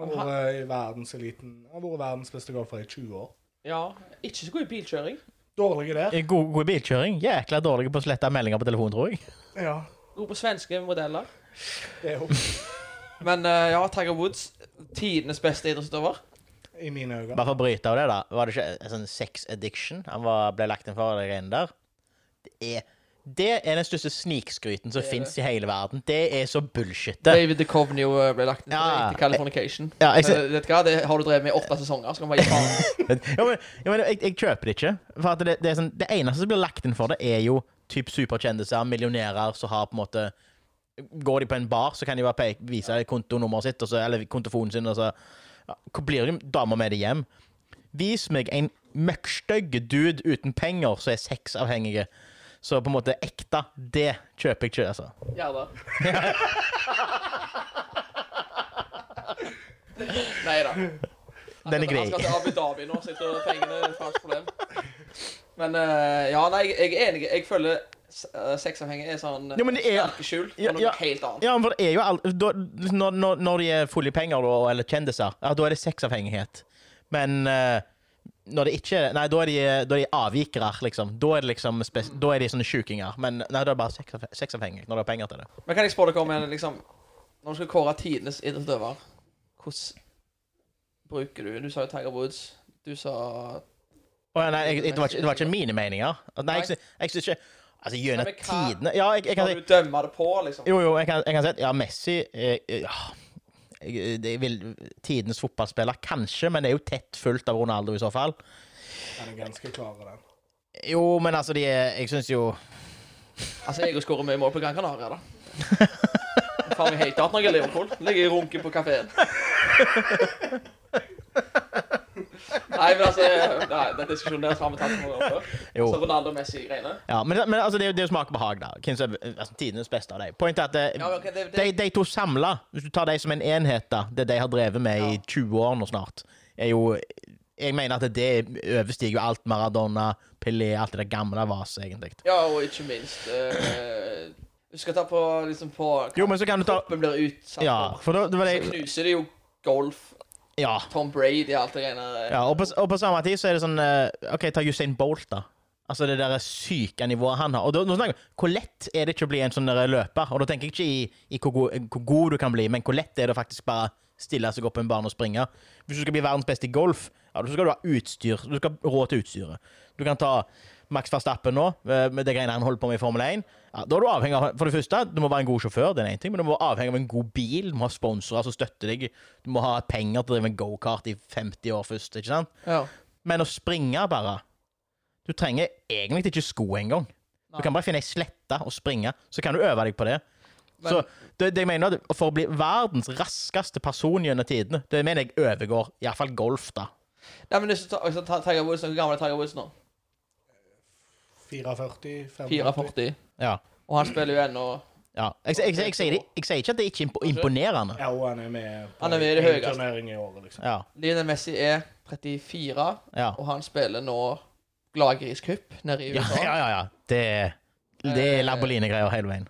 [SPEAKER 4] Han
[SPEAKER 3] Men
[SPEAKER 4] har vært i verdenseliten. Han har vært verdens beste golfer i 20 år.
[SPEAKER 3] Ja, ikke så god i bilkjøring.
[SPEAKER 4] Dårlig der.
[SPEAKER 2] Eh, God, god bilkjøring. Jækla dårlig på å slette meldinger på telefonen, tror jeg.
[SPEAKER 4] Ja,
[SPEAKER 3] God på svenske modeller.
[SPEAKER 4] det er jo
[SPEAKER 3] Men eh, ja, Tiger Woods, tidenes beste idrettsutøver.
[SPEAKER 4] i mine øyne.
[SPEAKER 2] Bare for å bryte av det, da. Var det ikke en sånn sex addiction han var, ble lagt inn for? Det greiene der? Det er, det er den største snikskryten som
[SPEAKER 3] Det er
[SPEAKER 2] fins
[SPEAKER 3] det.
[SPEAKER 2] i hele verden. Det er så bullshit. det.
[SPEAKER 3] David Duchovny eh, ble lagt ned
[SPEAKER 2] Ja.
[SPEAKER 3] til Californication.
[SPEAKER 2] Ja, jeg ser-
[SPEAKER 3] Eh, vet du hva, det har du drevet med i åtte sesonger. Så kan man gi faen.
[SPEAKER 2] Ja, men, ja, men jeg, jeg kjøper det ikke. For at det, det, er sånn, det eneste som blir lagt inn for det, er jo typ superkjendiser, millionærer som har på en måte Går de på en bar, så kan de bare peke, vise kontonummeret sitt, og så, eller kontofonen sin, og så ja, hvor blir det damer med det hjem. Vis meg en møkkstygg dude uten penger som er sexavhengige. Så på en måte ekte. Det kjøper jeg ikke, altså.
[SPEAKER 3] Gjerda. Nei da.
[SPEAKER 2] Den er grei.
[SPEAKER 3] Han skal til Abu Dhabi nå, sitter og pengene er et fransk problem. Men eh, ja, nei, jeg jeg er enig. Jeg føler s- eh, sexavhengig er sånn
[SPEAKER 2] Jo, men det er-
[SPEAKER 3] sterkeskjul
[SPEAKER 2] Ja,
[SPEAKER 3] og noe
[SPEAKER 2] ja.
[SPEAKER 3] helt annet.
[SPEAKER 2] Ja, men for det er jo all, da, når, når, når de er fulle i penger da, eller kjendiser, ja, da er det sexavhengighet. Men eh, når det ikke er det Nei, da er de, da er de avvikere, liksom. Da er, det liksom spes, da er de sånne sjukinger. Men nei, da er det bare sexavhe- sexavhengig når du har penger til det.
[SPEAKER 3] Men kan jeg spørre dere om en liksom Når du skal kåre tidenes idrettsutøver, hvordan bruker du Du sa jo Tiger Woods. Du sa
[SPEAKER 2] Å, ja, nei, jeg, jeg, det, var ikke, det var ikke mine meninger. Nei, jeg, sy- jeg syns ikke Altså, gjennom
[SPEAKER 3] Nei, men hva-
[SPEAKER 2] tidene Ja, jeg, jeg kan
[SPEAKER 3] Kan
[SPEAKER 2] si
[SPEAKER 3] du dømme det på, liksom?
[SPEAKER 2] Jo, jo, jeg kan, jeg kan si at ja, Messi eh, ja, jeg, eh, jeg vil, Tidenes fotballspiller, kanskje, men det er jo tett fulgt av Ronaldo i så fall.
[SPEAKER 4] Han er ganske klar over den.
[SPEAKER 2] Jo, men altså, de er Jeg syns jo
[SPEAKER 3] Altså, jeg skårer mye mål på Gran Canaria, da. Faen meg hater at når jeg er Liverpool. Ligger i runke på kafeen. Nei, men altså Nei, den diskusjonen der har vi tatt noen ganger før.
[SPEAKER 2] Jo.
[SPEAKER 3] Så Ronaldo og Messi-greiene.
[SPEAKER 2] Ja, men, men altså, det er jo- det er jo smak og behag, da. Hvem som er altså, tidenes beste av dem. Poenget er at eh,
[SPEAKER 3] Ja, men ok, det- det-
[SPEAKER 2] De, de to samla, hvis du tar de som en enhet, da, det de har drevet med i
[SPEAKER 3] Ja.
[SPEAKER 2] 20 år nå snart, er jo Jeg mener at det overstiger jo alt Maradona, Pelé, alt det der gamle vaset, egentlig.
[SPEAKER 3] Ja, og ikke minst eh, Du skal ta på liksom på
[SPEAKER 2] Jo, men så kan du ta
[SPEAKER 3] Kroppen blir utsatt
[SPEAKER 2] Ja,
[SPEAKER 3] for
[SPEAKER 2] for da, det var
[SPEAKER 3] Så
[SPEAKER 2] det
[SPEAKER 3] knuser det jo golf,
[SPEAKER 2] Ja.
[SPEAKER 3] Tom Brady og alt det greiene der.
[SPEAKER 2] ja og, på, og på samme tid så er det sånn eh, OK, ta Usain Bolt, da. Altså det der syke nivået han har. Og da, nå snakker vi, Hvor lett er det ikke å bli en sånn der løper? Og da tenker jeg ikke i, i hvor, god, hvor god du kan bli, men hvor lett er det å faktisk bare stille seg opp på en bane og springe? Hvis du skal bli verdens beste i golf, ja, så skal du ha utstyr. Du skal ha råd til utstyret. Du kan ta Max Verstappen nå, eh, med det greiene han holder på med i Formel 1. Ja, da er du avhengig av, For det første, du må være en god sjåfør, det er en ting, men du må være avhengig av en god bil. Du må ha sponsorer som støtter deg. Du må ha penger til å drive med gokart i 50 år først. ikke sant?
[SPEAKER 3] Ja.
[SPEAKER 2] Men å springe bare Du trenger egentlig ikke sko engang. Du
[SPEAKER 3] Nei.
[SPEAKER 2] kan bare finne ei slette og springe, så kan du øve deg på det.
[SPEAKER 3] Men-
[SPEAKER 2] så det, det jeg mener at For å bli verdens raskeste person gjennom tidene, det mener jeg overgår iallfall golf, da.
[SPEAKER 3] Nei, men hvis du tar, hvis du tar Tiger Woods, Hvor gammel er Tiger Woods nå?
[SPEAKER 4] 44, 45
[SPEAKER 3] 44.
[SPEAKER 2] Ja.
[SPEAKER 3] Og han spiller jo ennå
[SPEAKER 2] ja. Jeg, jeg, jeg, jeg, sier det- jeg sier ikke at det er ikke impo- imponerende.
[SPEAKER 4] Ja, og han er med på
[SPEAKER 3] Han er med i det
[SPEAKER 4] en
[SPEAKER 3] høyeste.
[SPEAKER 4] turnering i året, liksom.
[SPEAKER 2] Ja.
[SPEAKER 3] Lionel Messi er 34,
[SPEAKER 2] Ja.
[SPEAKER 3] og han spiller nå Gladgris Cup nede i
[SPEAKER 2] Ja,
[SPEAKER 3] USA. Eh.
[SPEAKER 2] ja, ja. ja. Det, det er Laboline-greier hele veien.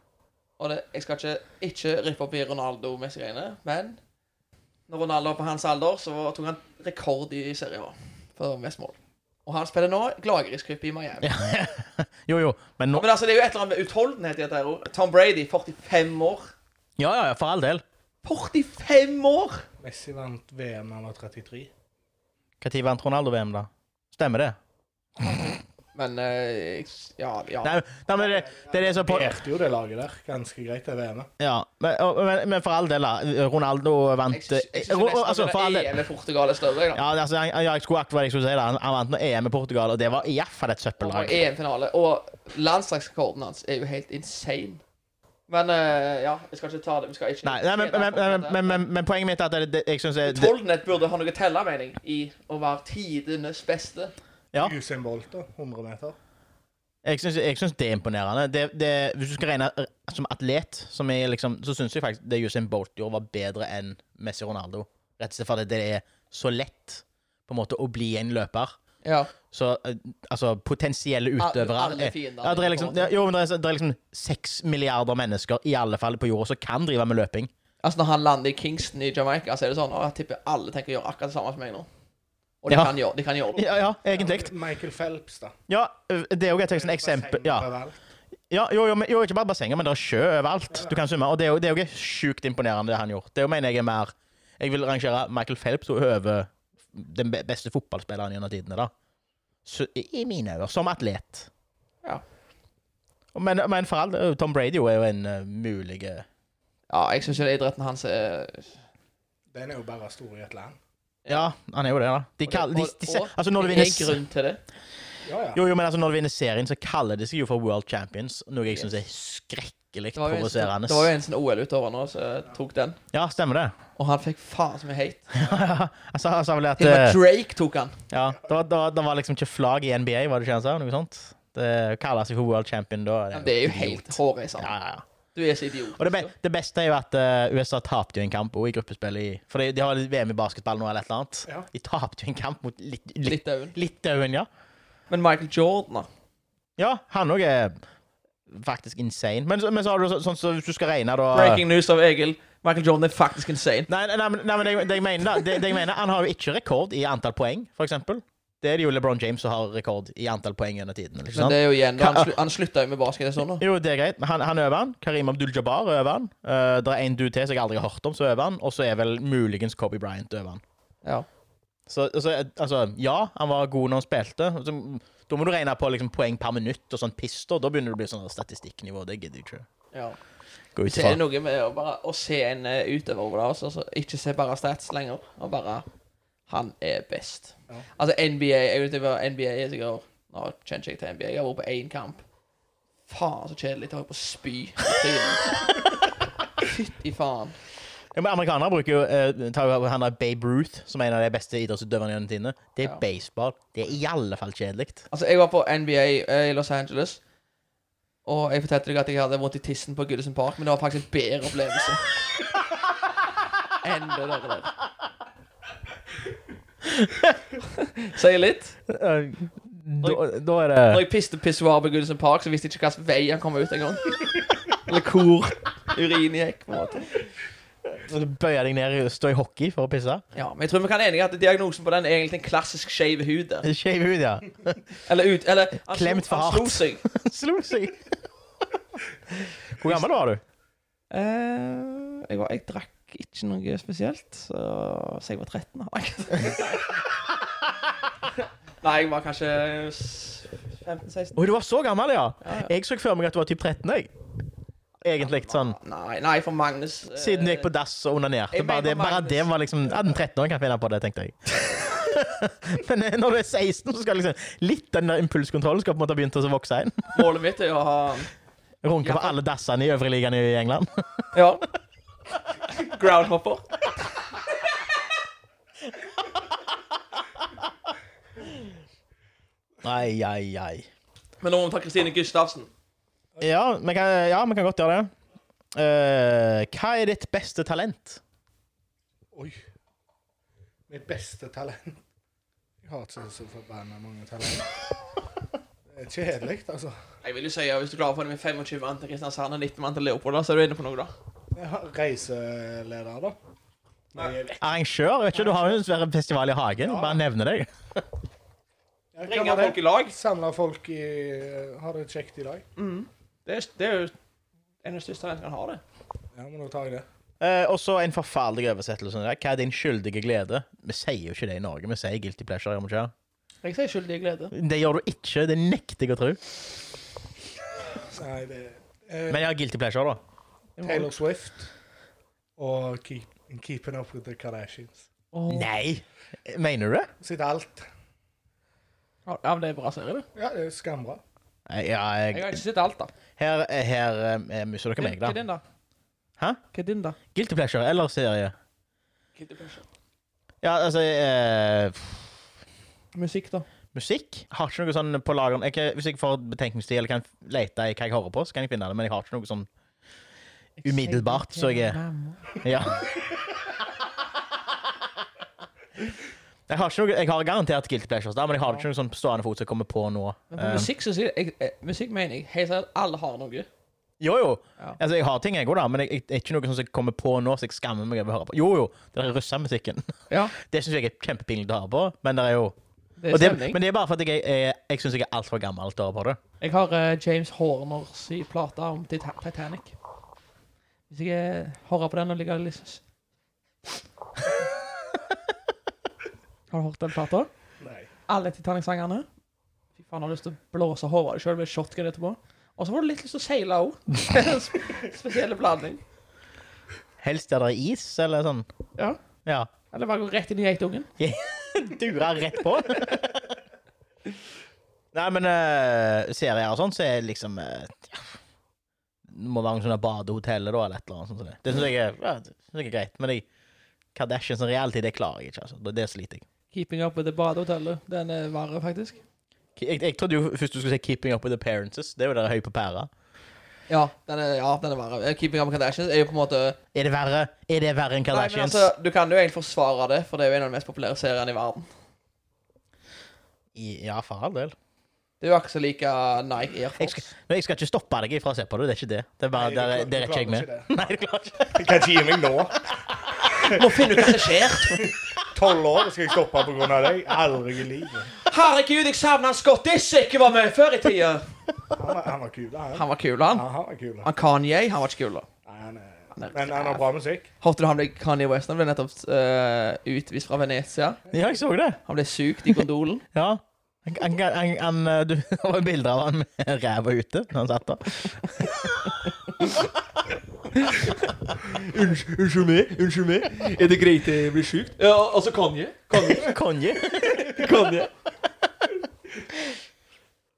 [SPEAKER 3] Og det, jeg skal ikke, ikke rippe opp i Ronaldo-Messi-greiene, men når Ronaldo var på hans alder, så tok han rekord i Serie A for mest mål. Og han spiller nå Gladgris Cup i Miami.
[SPEAKER 2] Jo, jo, men nå
[SPEAKER 3] Men altså, det er jo et eller annet med utholdenhet i dette. her også. Tom Brady, 45 år.
[SPEAKER 2] Ja, ja, ja, for all del.
[SPEAKER 3] 45 år!
[SPEAKER 4] Messi vant VM da han var 33.
[SPEAKER 2] Når vant Ronaldo-VM, da? Stemmer det?
[SPEAKER 3] Men eh, jeg, ja, ja.
[SPEAKER 2] Nei, nei men det, det er det som på,
[SPEAKER 4] Gjerte jo det laget der ganske greit, det VM-et.
[SPEAKER 2] Ja, men, og- men, men for all del, da. Ronaldo vant
[SPEAKER 3] Jeg syns
[SPEAKER 2] eh,
[SPEAKER 3] jeg syns
[SPEAKER 2] Ro-
[SPEAKER 3] nesten
[SPEAKER 2] altså, for all
[SPEAKER 3] at
[SPEAKER 2] del,
[SPEAKER 3] EM i Portugal er større. jeg, Da.
[SPEAKER 2] ja, altså, han, ja, jeg skulle akkurat hva jeg skulle si. da Han, han vant nå EM i Portugal, og det var iallfall et
[SPEAKER 3] Og
[SPEAKER 2] søppellag.
[SPEAKER 3] EM-finale. Og landslagsrekorden hans er jo helt insane. Men eh, ja, jeg skal ikke ta det. Vi skal ikke
[SPEAKER 2] Nei, nei men, men, men, men, men, men poenget mitt er at det, det, jeg syns det, det
[SPEAKER 3] Utholdenhet burde ha noe tellemening i å være tidenes beste.
[SPEAKER 2] Ja.
[SPEAKER 4] Usain Bolt, da. 100 meter.
[SPEAKER 2] Jeg syns, jeg syns det er imponerende. Det, det, hvis du skal regne eh, som atlet, som er liksom, så syns jeg faktisk det Usain Bolt gjorde, var bedre enn Messi Ronaldo. Rett og slett fordi det er så lett på en måte å bli en løper.
[SPEAKER 3] Ja.
[SPEAKER 2] Så eh, altså, potensielle utøvere
[SPEAKER 3] Alle
[SPEAKER 2] er-
[SPEAKER 3] fiender.
[SPEAKER 2] ja, det er liksom,
[SPEAKER 3] på en
[SPEAKER 2] det,
[SPEAKER 3] måte.
[SPEAKER 2] er- jo, men det er, det er liksom seks milliarder mennesker, i alle fall på jorda, som kan drive med løping.
[SPEAKER 3] Altså Når han lander i Kingston i Jamaica, så er det sånn «Å, Jeg tipper alle tenker å gjøre akkurat det samme som meg nå. Og de
[SPEAKER 2] Ja.
[SPEAKER 3] kan gjøre de kan gjøre det.
[SPEAKER 2] Ja, ja egentlig.
[SPEAKER 4] Michael Phelps, da.
[SPEAKER 2] Ja, det er jo et sånn eksempel. Ja. Ja, jo, jo, men, jo, ikke bare bassenger, men det er sjø overalt. Du kan svømme. Og det er jo, det er jo ikke sjukt imponerende, det han gjorde. Det er jo, mener jeg er mer Jeg vil rangere Michael Phelps og over den be- beste fotballspilleren gjennom tidene, da. Så, i- I mine øyne. Som atlet.
[SPEAKER 3] Ja.
[SPEAKER 2] Og Men, men for all del, Tom Brady jo er jo en eh, mulig eh,
[SPEAKER 3] Ja, jeg syns idretten hans eh, er
[SPEAKER 4] Den er jo bare stor i et land.
[SPEAKER 2] Ja, han er jo det, da. De
[SPEAKER 3] Og det-
[SPEAKER 2] kaller, de,
[SPEAKER 3] og-
[SPEAKER 2] de, de,
[SPEAKER 3] og-
[SPEAKER 2] altså, når du
[SPEAKER 3] Det
[SPEAKER 2] vinner
[SPEAKER 3] er grunn til det.
[SPEAKER 4] Ja, ja.
[SPEAKER 2] Jo, jo, men altså, når du vinner serien, så kaller de seg jo for World Champions, noe jeg
[SPEAKER 3] Yes.
[SPEAKER 2] syns er skrekkelig
[SPEAKER 3] Det var jo en,
[SPEAKER 2] provoserende.
[SPEAKER 3] det var jo en sånn OL-utøver nå som tok den,
[SPEAKER 2] Ja, stemmer det.
[SPEAKER 3] og han fikk faen så mye hate.
[SPEAKER 2] altså, han sa vel at
[SPEAKER 3] Til og
[SPEAKER 2] eh,
[SPEAKER 3] med Drake tok han.
[SPEAKER 2] Ja, da, da, da var liksom ikke flagg i NBA, var det ikke han sa? Noe sånt? Det kaller seg for world champion da.
[SPEAKER 3] Men det er jo helt
[SPEAKER 2] Ja,
[SPEAKER 3] hårreisende.
[SPEAKER 2] ja, ja.
[SPEAKER 3] Du er så idiot.
[SPEAKER 2] Og det, be det beste er jo at eh, USA tapte jo en kamp også i gruppespillet i For de, de har vel VM i basketball nå, eller et eller annet.
[SPEAKER 4] Ja.
[SPEAKER 2] De tapte jo en kamp mot litt, litt,
[SPEAKER 3] Litauen.
[SPEAKER 2] Litauen, ja.
[SPEAKER 3] Men Michael Jordan, ah. da.
[SPEAKER 2] Ja, han òg er faktisk insane. Men, så- men så har du så, sånn som hvis du skal regne, da
[SPEAKER 3] Breaking news av Egil. Michael Jordan er faktisk insane.
[SPEAKER 2] Nei, nei, nei, men- nei men det, jeg- det jeg mener, da det, det jeg mener, Han har jo ikke rekord i antall poeng, for eksempel. Det er det jo LeBron James som har rekord i antall poeng gjennom tiden. Liksom.
[SPEAKER 3] Men det er jo igjen Han,
[SPEAKER 2] Ka-
[SPEAKER 3] slu, han slutta jo med basket. og Sånn, da.
[SPEAKER 2] Jo, det er greit. Men Han, han øver han. Karim Abdul-Jabbar øver han. Eh, det er en dude til som jeg aldri har hørt om, som øver han. Og så er vel muligens Kobe Bryant øver han.
[SPEAKER 3] Ja.
[SPEAKER 2] Så, så eh, altså, ja, han var god når han spilte. Så, da må du regne på liksom, poeng per minutt og sånn piss. Da Da begynner det å bli sånn statistikknivå. Det gidder jeg ikke.
[SPEAKER 3] Ja.
[SPEAKER 2] Gå ut
[SPEAKER 3] Så er
[SPEAKER 2] ifra.
[SPEAKER 3] det noe med å, bare, å se en eh, utøver over det, altså, så ikke se bare stats lenger, og bare Han er best.
[SPEAKER 4] Ja.
[SPEAKER 3] Altså, NBA Jeg vet ikke hva NBA er sikkert Nå kjenner ikke jeg til NBA. Jeg har vært på én kamp. Faen, så kjedelig. Jeg holdt på å spy. i trynet. Fytti faen.
[SPEAKER 2] Ja, men amerikanere bruker jo eh, tar jo han der Babe Ruth, som er en av de beste idrettsutøverne gjennom tidene. Det er
[SPEAKER 3] Ja.
[SPEAKER 2] baseball. Det er i alle fall kjedelig.
[SPEAKER 3] Altså, jeg var på NBA eh, i Los Angeles, og jeg fortalte deg at jeg hadde vondt i tissen på Goodison Park, men det var faktisk en bedre opplevelse. Enn det der. der. Sier litt.
[SPEAKER 2] Eh, Da, da er det
[SPEAKER 3] Når jeg piste pissoar på Goodison Park, så visste jeg ikke hvilken vei han kom ut engang. Eller hvor urinen gikk. på en måte.
[SPEAKER 2] Du bøyer deg ned og står i hockey for å pisse.
[SPEAKER 3] Ja, Men jeg tror vi kan være enige at diagnosen på den er egentlig en klassisk skeiv hud. der.
[SPEAKER 2] Skeiv hud, ja.
[SPEAKER 3] Eller ut Eller han slo-
[SPEAKER 2] Klemt for
[SPEAKER 3] han
[SPEAKER 2] hardt.
[SPEAKER 3] slo seg.
[SPEAKER 2] Slo seg. Hvor gammel var du?
[SPEAKER 3] Eh, jeg, var, jeg drakk ikke noe spesielt, så, så jeg var 13. da. Nei, jeg var kanskje s- 15-16.
[SPEAKER 2] Oi, du var så gammel, ja.
[SPEAKER 3] Ja, ja.
[SPEAKER 2] Jeg så for meg at du var typ 13. jeg. Egentlig sånn.
[SPEAKER 3] Nei, nei, for Magnus eh,
[SPEAKER 2] Siden du gikk på dass og onanerte.
[SPEAKER 3] Jeg
[SPEAKER 2] Bare det,
[SPEAKER 3] mener
[SPEAKER 2] bare
[SPEAKER 3] Magnus.
[SPEAKER 2] det var liksom Ja, den 13-åringen kan finne på det, tenkte jeg. Men eh, når du er 16, så skal liksom litt den der impulskontrollen skal på en måte ha begynt å vokse inn.
[SPEAKER 3] Målet mitt er å ha
[SPEAKER 2] Runke
[SPEAKER 3] Ja.
[SPEAKER 2] på alle dassene i øvre ligaen i England.
[SPEAKER 3] Ja. Groundhopper.
[SPEAKER 2] Ai, ai, ai.
[SPEAKER 3] Men nå må vi ta Kristine Gustavsen.
[SPEAKER 2] Ja, vi kan, ja, vi kan godt gjøre det. Eh, hva er ditt beste talent?
[SPEAKER 4] Oi. Mitt beste talent. Jeg har ikke så forbanna mange talenter. Det er kjedelig, altså.
[SPEAKER 3] Jeg vil jo si at Hvis du klarer å få det med 25 mann til Kristiansand og 19 mann til Leopold, da, så er du inne på noe, da.
[SPEAKER 4] Jeg har reiseleder, da. Nei, jeg vet
[SPEAKER 2] Arrangør? vet ikke, Du har jo en svær festival i hagen.
[SPEAKER 4] Ja.
[SPEAKER 2] Bare nevne deg.
[SPEAKER 4] jeg kan
[SPEAKER 3] Ringe
[SPEAKER 4] være
[SPEAKER 3] folk i lag.
[SPEAKER 4] Samle folk i eh, Har det kjekt i dag.
[SPEAKER 3] Mm. Det er, det er jo en av de største talentene han har, det.
[SPEAKER 4] Ja, men da tar jeg det.
[SPEAKER 2] Eh, og så en forferdelig oversettelse. der. Hva er din skyldige glede? Vi sier jo ikke det i Norge. Vi sier guilty pleasure. gjør vi ikke?
[SPEAKER 3] Jeg sier skyldig glede.
[SPEAKER 2] Det gjør du ikke. Det nekter jeg å tro.
[SPEAKER 4] Nei, det eh,
[SPEAKER 2] Men jeg har guilty pleasure, da.
[SPEAKER 4] Taylor Swift og keep, Keeping Up With The Kardashians.
[SPEAKER 2] Nei! Mener du det?
[SPEAKER 4] Sitt alt.
[SPEAKER 3] Ja, men det er bra serie, det.
[SPEAKER 4] Ja, det er skambra.
[SPEAKER 2] Nei, Ja,
[SPEAKER 3] Jeg har
[SPEAKER 2] jeg,
[SPEAKER 3] ikke sett alt, da.
[SPEAKER 2] her her eh, musser dere meg,
[SPEAKER 3] Hva
[SPEAKER 2] da.
[SPEAKER 3] er din, da?
[SPEAKER 2] Hæ?
[SPEAKER 3] Hva er din, da?
[SPEAKER 2] Guilty pleasure eller serie? Ja, altså eh,
[SPEAKER 3] Musikk, da.
[SPEAKER 2] musikk. Jeg Har ikke noe sånn på lageren jeg, kan- Hvis jeg får betenkningstid eller kan lete i hva jeg hører på, så kan jeg finne det, men jeg har ikke noe sånn umiddelbart, så jeg er Ja. Jeg har, ikke noe, jeg har garantert guilty pleasures, der, men jeg har ikke noe sånn på stående fot som jeg kommer på nå.
[SPEAKER 3] Men på
[SPEAKER 2] Eh,
[SPEAKER 3] musikk så sier jeg, jeg, musikk mener jeg helt seriøst alle har noe.
[SPEAKER 2] jo, jo.
[SPEAKER 3] Ja.
[SPEAKER 2] Altså, jeg har ting, jeg òg, da, men jeg, jeg, det er ikke noe sånn som jeg kommer på nå som jeg skammer meg over å høre på. Jo, jo. Den der russemusikken.
[SPEAKER 3] Ja,
[SPEAKER 2] Det syns jeg er kjempepinlig å høre på, men det er jo
[SPEAKER 3] det
[SPEAKER 2] og
[SPEAKER 3] er
[SPEAKER 2] det,
[SPEAKER 3] stemning.
[SPEAKER 2] Men det er bare fordi jeg, jeg, jeg syns jeg er altfor gammel til å høre på det.
[SPEAKER 3] Jeg har eh, James Horners i plata om Tita- Titanic. Hvis jeg eh, hører på den og ligger litt s- Har du hørt den plata?
[SPEAKER 4] Nei.
[SPEAKER 3] Alle Titanic-sangerne. Fy faen, har lyst til å blåse hodet av deg sjøl med shotgun etterpå. Og så får du litt lyst til å seile òg. Spesielle blanding.
[SPEAKER 2] Helst der det er is, eller sånn.
[SPEAKER 3] Ja.
[SPEAKER 2] Ja.
[SPEAKER 3] Eller bare gå rett inn i geitungen.
[SPEAKER 2] Dura rett på. Nei, men eh, serier og sånt, så er liksom eh, ja. Det må være noen sånne badehoteller, da, eller et eller annet. sånt som det. Det syns jeg, er- ja, det synes jeg er greit. Men de Kardashians som reality, det klarer jeg ikke. altså. Det, det sliter jeg.
[SPEAKER 3] Keeping up with the badehotellet. Den er verre, faktisk.
[SPEAKER 2] jeg. Jeg trodde jo først du skulle si 'Keeping Up With Appearances'. Det er jo der høy på pæra.
[SPEAKER 3] Ja, den er, ja, den er verre. Eh, Keeping up with Kardashians er jo på en måte
[SPEAKER 2] Er det verre? Er det verre enn
[SPEAKER 3] Nei, men
[SPEAKER 2] Kardashians?
[SPEAKER 3] altså, Du kan jo egentlig forsvare det, for det er jo en av de mest populære seriene i verden.
[SPEAKER 2] I- Ja, for all del.
[SPEAKER 3] Det er jo akkurat så like uh, Nike Air
[SPEAKER 2] Jeg
[SPEAKER 3] Force.
[SPEAKER 2] skal, men jeg skal ikke stoppe deg fra å se på det. Det er ikke det. Det er bare,
[SPEAKER 4] Nei,
[SPEAKER 2] der,
[SPEAKER 4] du klarer-
[SPEAKER 2] der er
[SPEAKER 4] du
[SPEAKER 2] ikke jeg
[SPEAKER 4] klarer
[SPEAKER 2] med. Nei, du klarer ikke.
[SPEAKER 4] Jeg kan ikke gi meg nå.
[SPEAKER 3] Må finne ut hva som skjer!
[SPEAKER 4] Tolv år skal jeg stoppe pga. deg. Aldri i livet.
[SPEAKER 3] Herregud, jeg savner han Scott Disick jeg var med før i tida!
[SPEAKER 4] Han var, han var kul, han.
[SPEAKER 3] Han var kul, han.
[SPEAKER 4] Ja, han var kul. Han.
[SPEAKER 3] Han Kanye, han var ikke kul. da.
[SPEAKER 4] Nei, han er,
[SPEAKER 3] Han er-
[SPEAKER 4] men han har bra musikk.
[SPEAKER 3] Hørte du han ble Kanye West? Han ble nettopp eh, utvist fra Venezia.
[SPEAKER 2] Ja, jeg så det.
[SPEAKER 3] Han ble sugd i kondolen.
[SPEAKER 2] Ja. Han, han, han, han, eh, du det var bilder av han med ræva ute når han satt der.
[SPEAKER 3] Unnskyld meg, unnskyld meg. Er det greit jeg blir sjukt? Ja, altså Kanye. Kanye.
[SPEAKER 2] Konje.
[SPEAKER 3] Kanye.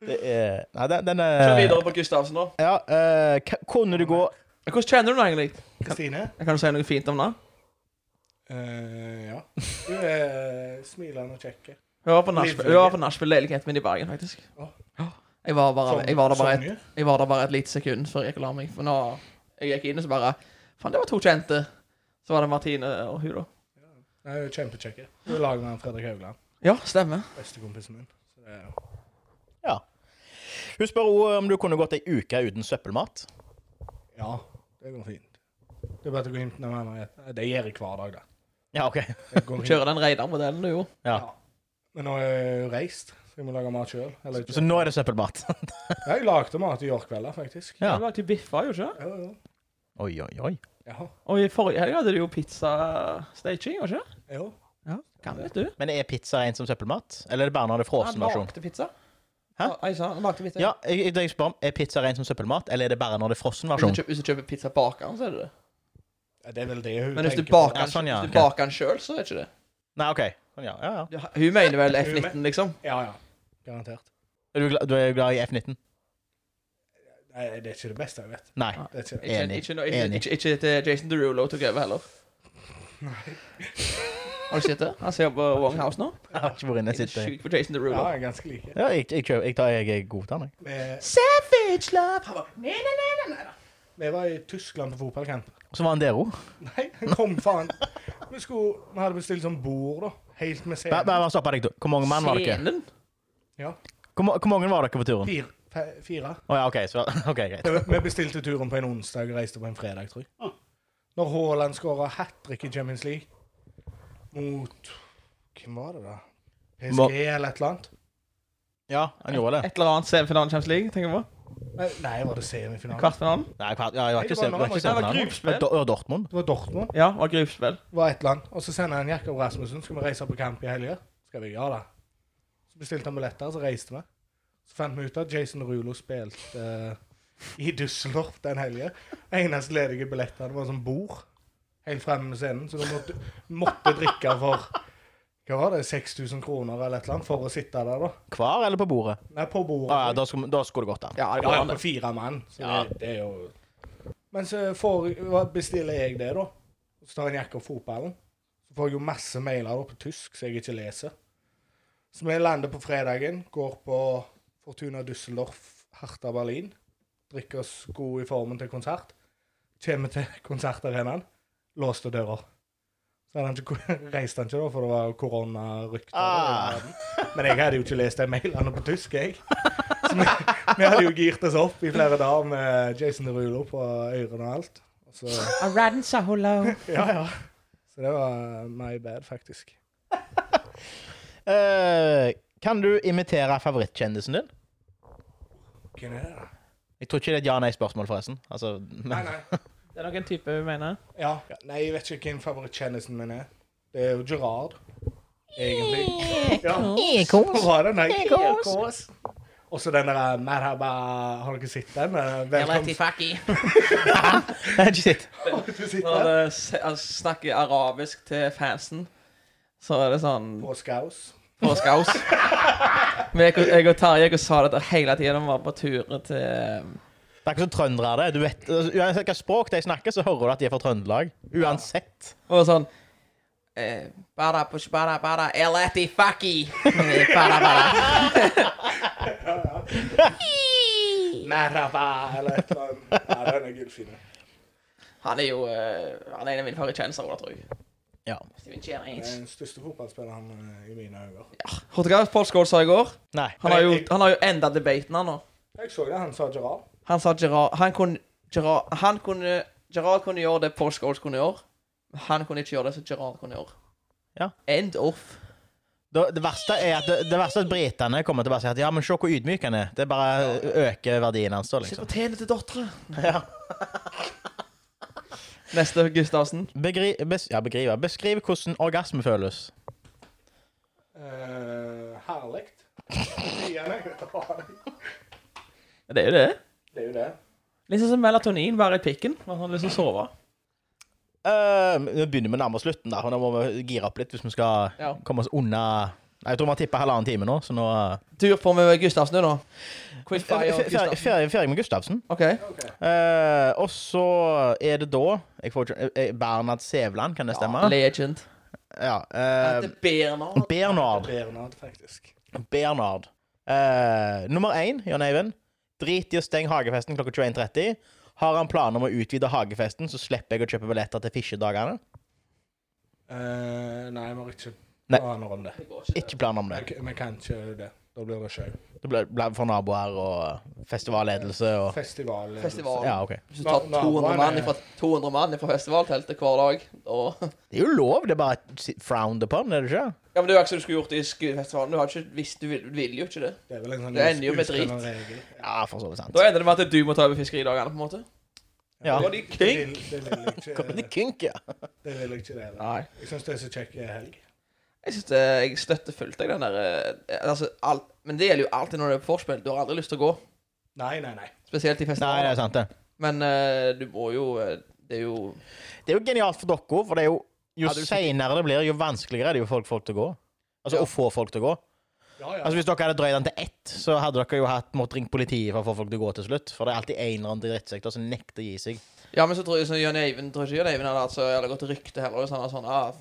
[SPEAKER 2] Det er Nei, den, den
[SPEAKER 3] Så
[SPEAKER 2] er
[SPEAKER 3] videre på Gustavsen, da.
[SPEAKER 2] Ja, eh, k- kunne du gå
[SPEAKER 3] Hvordan kjenner du ham egentlig?
[SPEAKER 4] Kristine?
[SPEAKER 3] Kan du si noe fint om det?
[SPEAKER 4] Eh, ja. Du er eh, smilende og kjekk.
[SPEAKER 3] Hun var på Nachspiel- hun var på Nachspiel-leiligheten min i Bergen, faktisk.
[SPEAKER 4] Å.
[SPEAKER 3] Ja. Jeg var, bare, jeg, var der bare et,
[SPEAKER 4] Sonje?
[SPEAKER 3] jeg var der bare et lite sekund før jeg gikk og la meg. For nå, jeg gikk inn og så bare Faen, det var to kjente. Så var det Martine og hun, da.
[SPEAKER 4] Nei, hun er kjempekjekk. Du er laget med Fredrik Haugland.
[SPEAKER 3] Ja, stemmer.
[SPEAKER 4] Bestekompisen min. Så det er
[SPEAKER 2] Ja. Hun spør også om du kunne gått ei uke uten søppelmat.
[SPEAKER 4] Ja, det går fint. Det er bare å gå inn til noen andre og gjette. Det gjør jeg hver dag, da.
[SPEAKER 2] Ja, OK.
[SPEAKER 4] Jeg går
[SPEAKER 3] Du
[SPEAKER 4] inn.
[SPEAKER 3] kjører den Reidar-modellen, du, jo.
[SPEAKER 2] Ja.
[SPEAKER 4] Men nå er jeg jo reist, så jeg må lage mat sjøl.
[SPEAKER 2] Så nå er det søppelmat.
[SPEAKER 4] Jeg lagde mat i York-kvelder, faktisk.
[SPEAKER 2] Ja.
[SPEAKER 3] Du lagde jo biffa, jo ikke?
[SPEAKER 4] Ja, ja.
[SPEAKER 2] Oi, oi, oi.
[SPEAKER 4] Ja,
[SPEAKER 3] Og i forrige helg hadde du jo pizzastaging, ikke?
[SPEAKER 4] ja.
[SPEAKER 3] Ja. Kan vet du.
[SPEAKER 2] Men er pizza rent som søppelmat, eller er det bare når det er
[SPEAKER 3] Han
[SPEAKER 2] frossen versjon?
[SPEAKER 3] lagde pizza.
[SPEAKER 2] Hæ?
[SPEAKER 3] Ja, Jeg sa han lagde pizza.
[SPEAKER 2] Ja, jeg, jeg spør om, Er pizza rent som søppelmat, eller er det bare når det er frossen
[SPEAKER 3] Hvis du
[SPEAKER 2] versjon?
[SPEAKER 3] kjøper, hvis du kjøper pizza baker den, så er det det.
[SPEAKER 4] Ja, Det er vel det hun
[SPEAKER 3] Men hvis du
[SPEAKER 4] tenker på.
[SPEAKER 3] baker
[SPEAKER 2] Ja,
[SPEAKER 3] den,
[SPEAKER 2] sånn, ja,
[SPEAKER 3] hvis du
[SPEAKER 2] ok.
[SPEAKER 3] baker den sjøl, så er det ikke det.
[SPEAKER 2] Nei, OK. Sånn, Ja, ja, ja.
[SPEAKER 3] Du- Hun mener vel F19, liksom.
[SPEAKER 4] Ja, ja. Garantert.
[SPEAKER 2] Er du, glad, du er glad i F19?
[SPEAKER 4] Nei, det er ikke det beste jeg vet.
[SPEAKER 2] Nei.
[SPEAKER 3] Ah.
[SPEAKER 4] Det er ikke det.
[SPEAKER 3] Ikke,
[SPEAKER 2] Enig.
[SPEAKER 3] ikke, noe- ikke,
[SPEAKER 2] Enig.
[SPEAKER 3] ikke, ikke, til Jason Derulo tok over heller. Har du sett det? Han ser på Wong House nå.
[SPEAKER 2] Jeg har ikke vært inne
[SPEAKER 3] Jeg er
[SPEAKER 2] siden.
[SPEAKER 3] sjukt på Jason
[SPEAKER 4] Ja,
[SPEAKER 3] Derulo.
[SPEAKER 4] jeg er ganske like.
[SPEAKER 2] Ja, jeg, jeg, kjøper- jeg, tar, jeg, jeg godtar den. jeg.
[SPEAKER 4] Vi-
[SPEAKER 3] Savage love! Han bare, nei, nei, nei, nei, nei.
[SPEAKER 4] Vi var i Tyskland på fotballkamp.
[SPEAKER 2] Så var han der òg.
[SPEAKER 4] Nei, han kom faen. Vi, skulle, vi hadde bestilt sånn bord, da. Helt med scene.
[SPEAKER 2] Bare stopp deg, du. Hvor mange mann var dere?
[SPEAKER 3] Scenen?
[SPEAKER 4] Ja.
[SPEAKER 2] Hvor, ma- hvor mange var dere på turen?
[SPEAKER 4] Fire. Fe- fire.
[SPEAKER 2] Å ja, OK. Så, ok, greit.
[SPEAKER 4] Vi- Vi bestilte turen på en onsdag og reiste på en fredag, tror jeg. Når Haaland skåra hat trick i Champions League mot Hvem var det, da?
[SPEAKER 2] Mo-
[SPEAKER 4] PSG eller et eller annet?
[SPEAKER 2] Ja, han gjorde det.
[SPEAKER 3] Et eller annet semifinalen i Champions League, tenker jeg på.
[SPEAKER 4] Nei, Nei, var det semifinalen?
[SPEAKER 3] Kvartfinalen.
[SPEAKER 2] Nei, jeg, ja, jeg var ikke
[SPEAKER 4] Nei,
[SPEAKER 2] sett-
[SPEAKER 4] det var
[SPEAKER 2] var ikke
[SPEAKER 4] Norge.
[SPEAKER 2] sett
[SPEAKER 3] Det var
[SPEAKER 2] den
[SPEAKER 3] gruppspill.
[SPEAKER 2] her. Og Dortmund.
[SPEAKER 4] Det var Dortmund.
[SPEAKER 3] Ja, og gruppspill.
[SPEAKER 4] Det var et eller annet. Og så sender han Jakob Rasmussen. Skal vi reise på kamp i helga? Skal vi? Ja da. Så bestilte han billetter, så reiste vi. Så fant vi ut at Jason Rulo spilte eh, i Düsseldorf den helga. Eneste ledige billettene var sånn bord helt fremme med scenen, så du måtte, måtte drikke for hva var det, 6000 kroner eller et eller annet for å sitte der, da.
[SPEAKER 2] Hver eller på bordet?
[SPEAKER 4] Nei, på bordet.
[SPEAKER 2] Ah, ja, da skulle, da skulle det gått an.
[SPEAKER 3] Ja, det
[SPEAKER 4] Ja,
[SPEAKER 3] går
[SPEAKER 4] jeg
[SPEAKER 3] an,
[SPEAKER 4] er
[SPEAKER 3] det.
[SPEAKER 4] på fire mann, så
[SPEAKER 2] Ja.
[SPEAKER 4] det, det er jo Men så får, hva- bestiller jeg det, da. Så tar jeg en jakke og fotballen. Så får jeg jo masse mailer da på tysk som jeg ikke leser. Så vi lander på fredagen, går på Fortuna Düsseldorf, Harta Berlin. Drikker oss gode i formen til konsert. Kommer til konsertarenaen, låste dører. Så hadde han ikke, reiste han ikke, da, for det var koronarykter.
[SPEAKER 2] Ah.
[SPEAKER 4] i verden. Men jeg hadde jo ikke lest de mailene på tysk, jeg. Så vi, vi hadde jo girt oss opp i flere dager med Jason Derulo på ørene og alt. Og så... Ja, ja. Så det var my bad, faktisk.
[SPEAKER 2] Eh, kan du imitere favorittkjendisen din?
[SPEAKER 4] Hvem er det, da?
[SPEAKER 2] Jeg tror ikke det er et ja-nei-spørsmål, forresten. Altså,
[SPEAKER 4] Nei,
[SPEAKER 2] men,
[SPEAKER 4] nei.
[SPEAKER 5] Det er noen type vi mener.
[SPEAKER 4] Ja. Nei, jeg vet ikke hvem favorittkjendisen min er. Det er jo Gerard, egentlig. Ja. Hvor var den? Nei, Kås. Og så den der eh, Merhaba Har dere sett den? Eh, Velkomst.
[SPEAKER 2] ikke sitt.
[SPEAKER 4] Har dere sett
[SPEAKER 3] Når
[SPEAKER 4] den?
[SPEAKER 3] det se- han snakker arabisk til fansen, så er det sånn
[SPEAKER 4] På Skaus.
[SPEAKER 3] påskeaus. Men jeg, og- jeg og Tarjei jeg og sa dette hele tiden vi var på turer til um,
[SPEAKER 2] Det er ikke så trøndere det. Du vet, altså, uansett hva språk de snakker, så hører du at de er fra Trøndelag. Uansett.
[SPEAKER 3] Og sånn eh, Bara push bara bara elati fucky Eh, Bara bara
[SPEAKER 4] Merhaba, eller et eller annet. Ja, den er gullfin.
[SPEAKER 3] Han er jo eh, Han er en av mine favorittkjendiser, Ola, tror jeg.
[SPEAKER 2] Ja.
[SPEAKER 3] Steven Gerrans.
[SPEAKER 4] Den største fotballspilleren eh, i mine øyne.
[SPEAKER 3] Hørte du hva Paul Scholes sa i går?
[SPEAKER 2] Nei.
[SPEAKER 3] Han har jo, han har jo enda debaten, han nå.
[SPEAKER 4] Jeg så det, han sa Gerard.
[SPEAKER 3] Han sa Gerard Han kunne Gerard, han kunne, Gerard kunne gjøre det Paul Scholes kunne gjøre. Men Han kunne ikke gjøre det som Gerard kunne gjøre.
[SPEAKER 2] Ja.
[SPEAKER 3] End off.
[SPEAKER 2] Det, det verste er at, det, det verste er at britene kommer til å bare si at ja, men se hvor ydmyk han er. Det bare øker verdien hans. da,
[SPEAKER 3] Se
[SPEAKER 2] Liksom.
[SPEAKER 3] på tennene til dattera. Neste Gustavsen.
[SPEAKER 2] Begri, bes, ja, begrive. Beskriv hvordan orgasme føles.
[SPEAKER 4] Uh, herlig. Det
[SPEAKER 5] Det er jo det.
[SPEAKER 4] er jo det.
[SPEAKER 5] Litt sånn som melatonin, bare i pikken. Man har lyst til å sove.
[SPEAKER 2] Eh, Nå begynner vi nærmere slutten, da. og Nå må vi gire opp litt hvis vi skal
[SPEAKER 3] Ja.
[SPEAKER 2] komme oss unna Nei, Jeg tror vi har tippa halvannen time nå, så nå
[SPEAKER 3] Tur på med Gustavsen, du, nå. Quickfire
[SPEAKER 2] Fer- fer-
[SPEAKER 3] Gustavsen.
[SPEAKER 2] Ferdig ferdig med Gustavsen.
[SPEAKER 3] OK.
[SPEAKER 2] Eh, og så er det da jeg får, ikke- eh, Bernhard Sævland, kan det stemme?
[SPEAKER 3] Ja, legend.
[SPEAKER 2] Ja, eh,
[SPEAKER 3] Han
[SPEAKER 5] Ehm,
[SPEAKER 3] heter Bernard.
[SPEAKER 2] Bernard.
[SPEAKER 4] Bernard, faktisk.
[SPEAKER 2] Bernard. Eh, nummer én, Jan Eivind. Drit i å stenge hagefesten klokka 21.30. Har han planer om å utvide hagefesten, så slipper jeg å kjøpe billetter til fisjedagene.
[SPEAKER 4] Eh, nei, vi har ikke
[SPEAKER 2] Nei.
[SPEAKER 4] planer om det.
[SPEAKER 2] Ikke planer om
[SPEAKER 4] Vi
[SPEAKER 2] det.
[SPEAKER 4] k- Vi kan ikke det. Da blir det sjau.
[SPEAKER 2] Det ble, ble for naboer og festivalledelse og
[SPEAKER 4] Festival. eh,
[SPEAKER 3] Festival.
[SPEAKER 2] Ja, OK.
[SPEAKER 3] Hvis du tar
[SPEAKER 4] Na- naboene
[SPEAKER 3] 200 mann ifra, 200 mann ifra festivalteltet hver dag da-
[SPEAKER 2] Det er jo lov, det er bare si- frowned upon, er det ikke?
[SPEAKER 3] Ja, men Det er jo ikke som du skulle gjort i Skuefestivalen. Du har ikke visst, du vil, du vil jo ikke det.
[SPEAKER 4] Det er vel en sånn
[SPEAKER 3] Det ender jo med
[SPEAKER 4] uskreven
[SPEAKER 3] drit.
[SPEAKER 4] regel.
[SPEAKER 2] Ja, for så vidt sant.
[SPEAKER 3] Da ender det med at du må ta over fiskeridagene, på en måte.
[SPEAKER 2] Ja.
[SPEAKER 3] Da er de
[SPEAKER 4] Det
[SPEAKER 3] king.
[SPEAKER 4] vil, det vil jeg ikke
[SPEAKER 2] Kommer til kink, ja.
[SPEAKER 4] Det vil jeg ikke det. heller.
[SPEAKER 3] Nei.
[SPEAKER 4] Jeg syns det er så kjekk eh, helg.
[SPEAKER 3] Jeg synes det, jeg støtter fullt jeg, den der eh, altså, alt, Men det gjelder jo alltid når det er på forspill. Du har aldri lyst til å gå.
[SPEAKER 4] Nei, nei, nei.
[SPEAKER 3] Spesielt i
[SPEAKER 2] Nei, det er
[SPEAKER 3] festivaler.
[SPEAKER 2] sant, det.
[SPEAKER 3] Men eh, du må jo eh, Det er jo
[SPEAKER 2] Det er jo genialt for dere, for det er jo jo
[SPEAKER 3] Ja, du-
[SPEAKER 2] seinere det blir, jo vanskeligere er det jo folk, folk til å gå. Altså
[SPEAKER 3] Ja.
[SPEAKER 2] å få folk til å gå.
[SPEAKER 4] Ja, ja.
[SPEAKER 2] Altså Hvis dere hadde drøyd den til ett, så hadde dere jo hatt måttet ringe politiet for å få folk til å gå til slutt. For det er alltid en eller annen drittsektor som nekter å gi seg.
[SPEAKER 3] Ja, men så tror jeg så Jørn Eivind tror ikke Jørn Eivind hadde, altså, hadde gått rykte heller. Hvis han hadde sånn ah,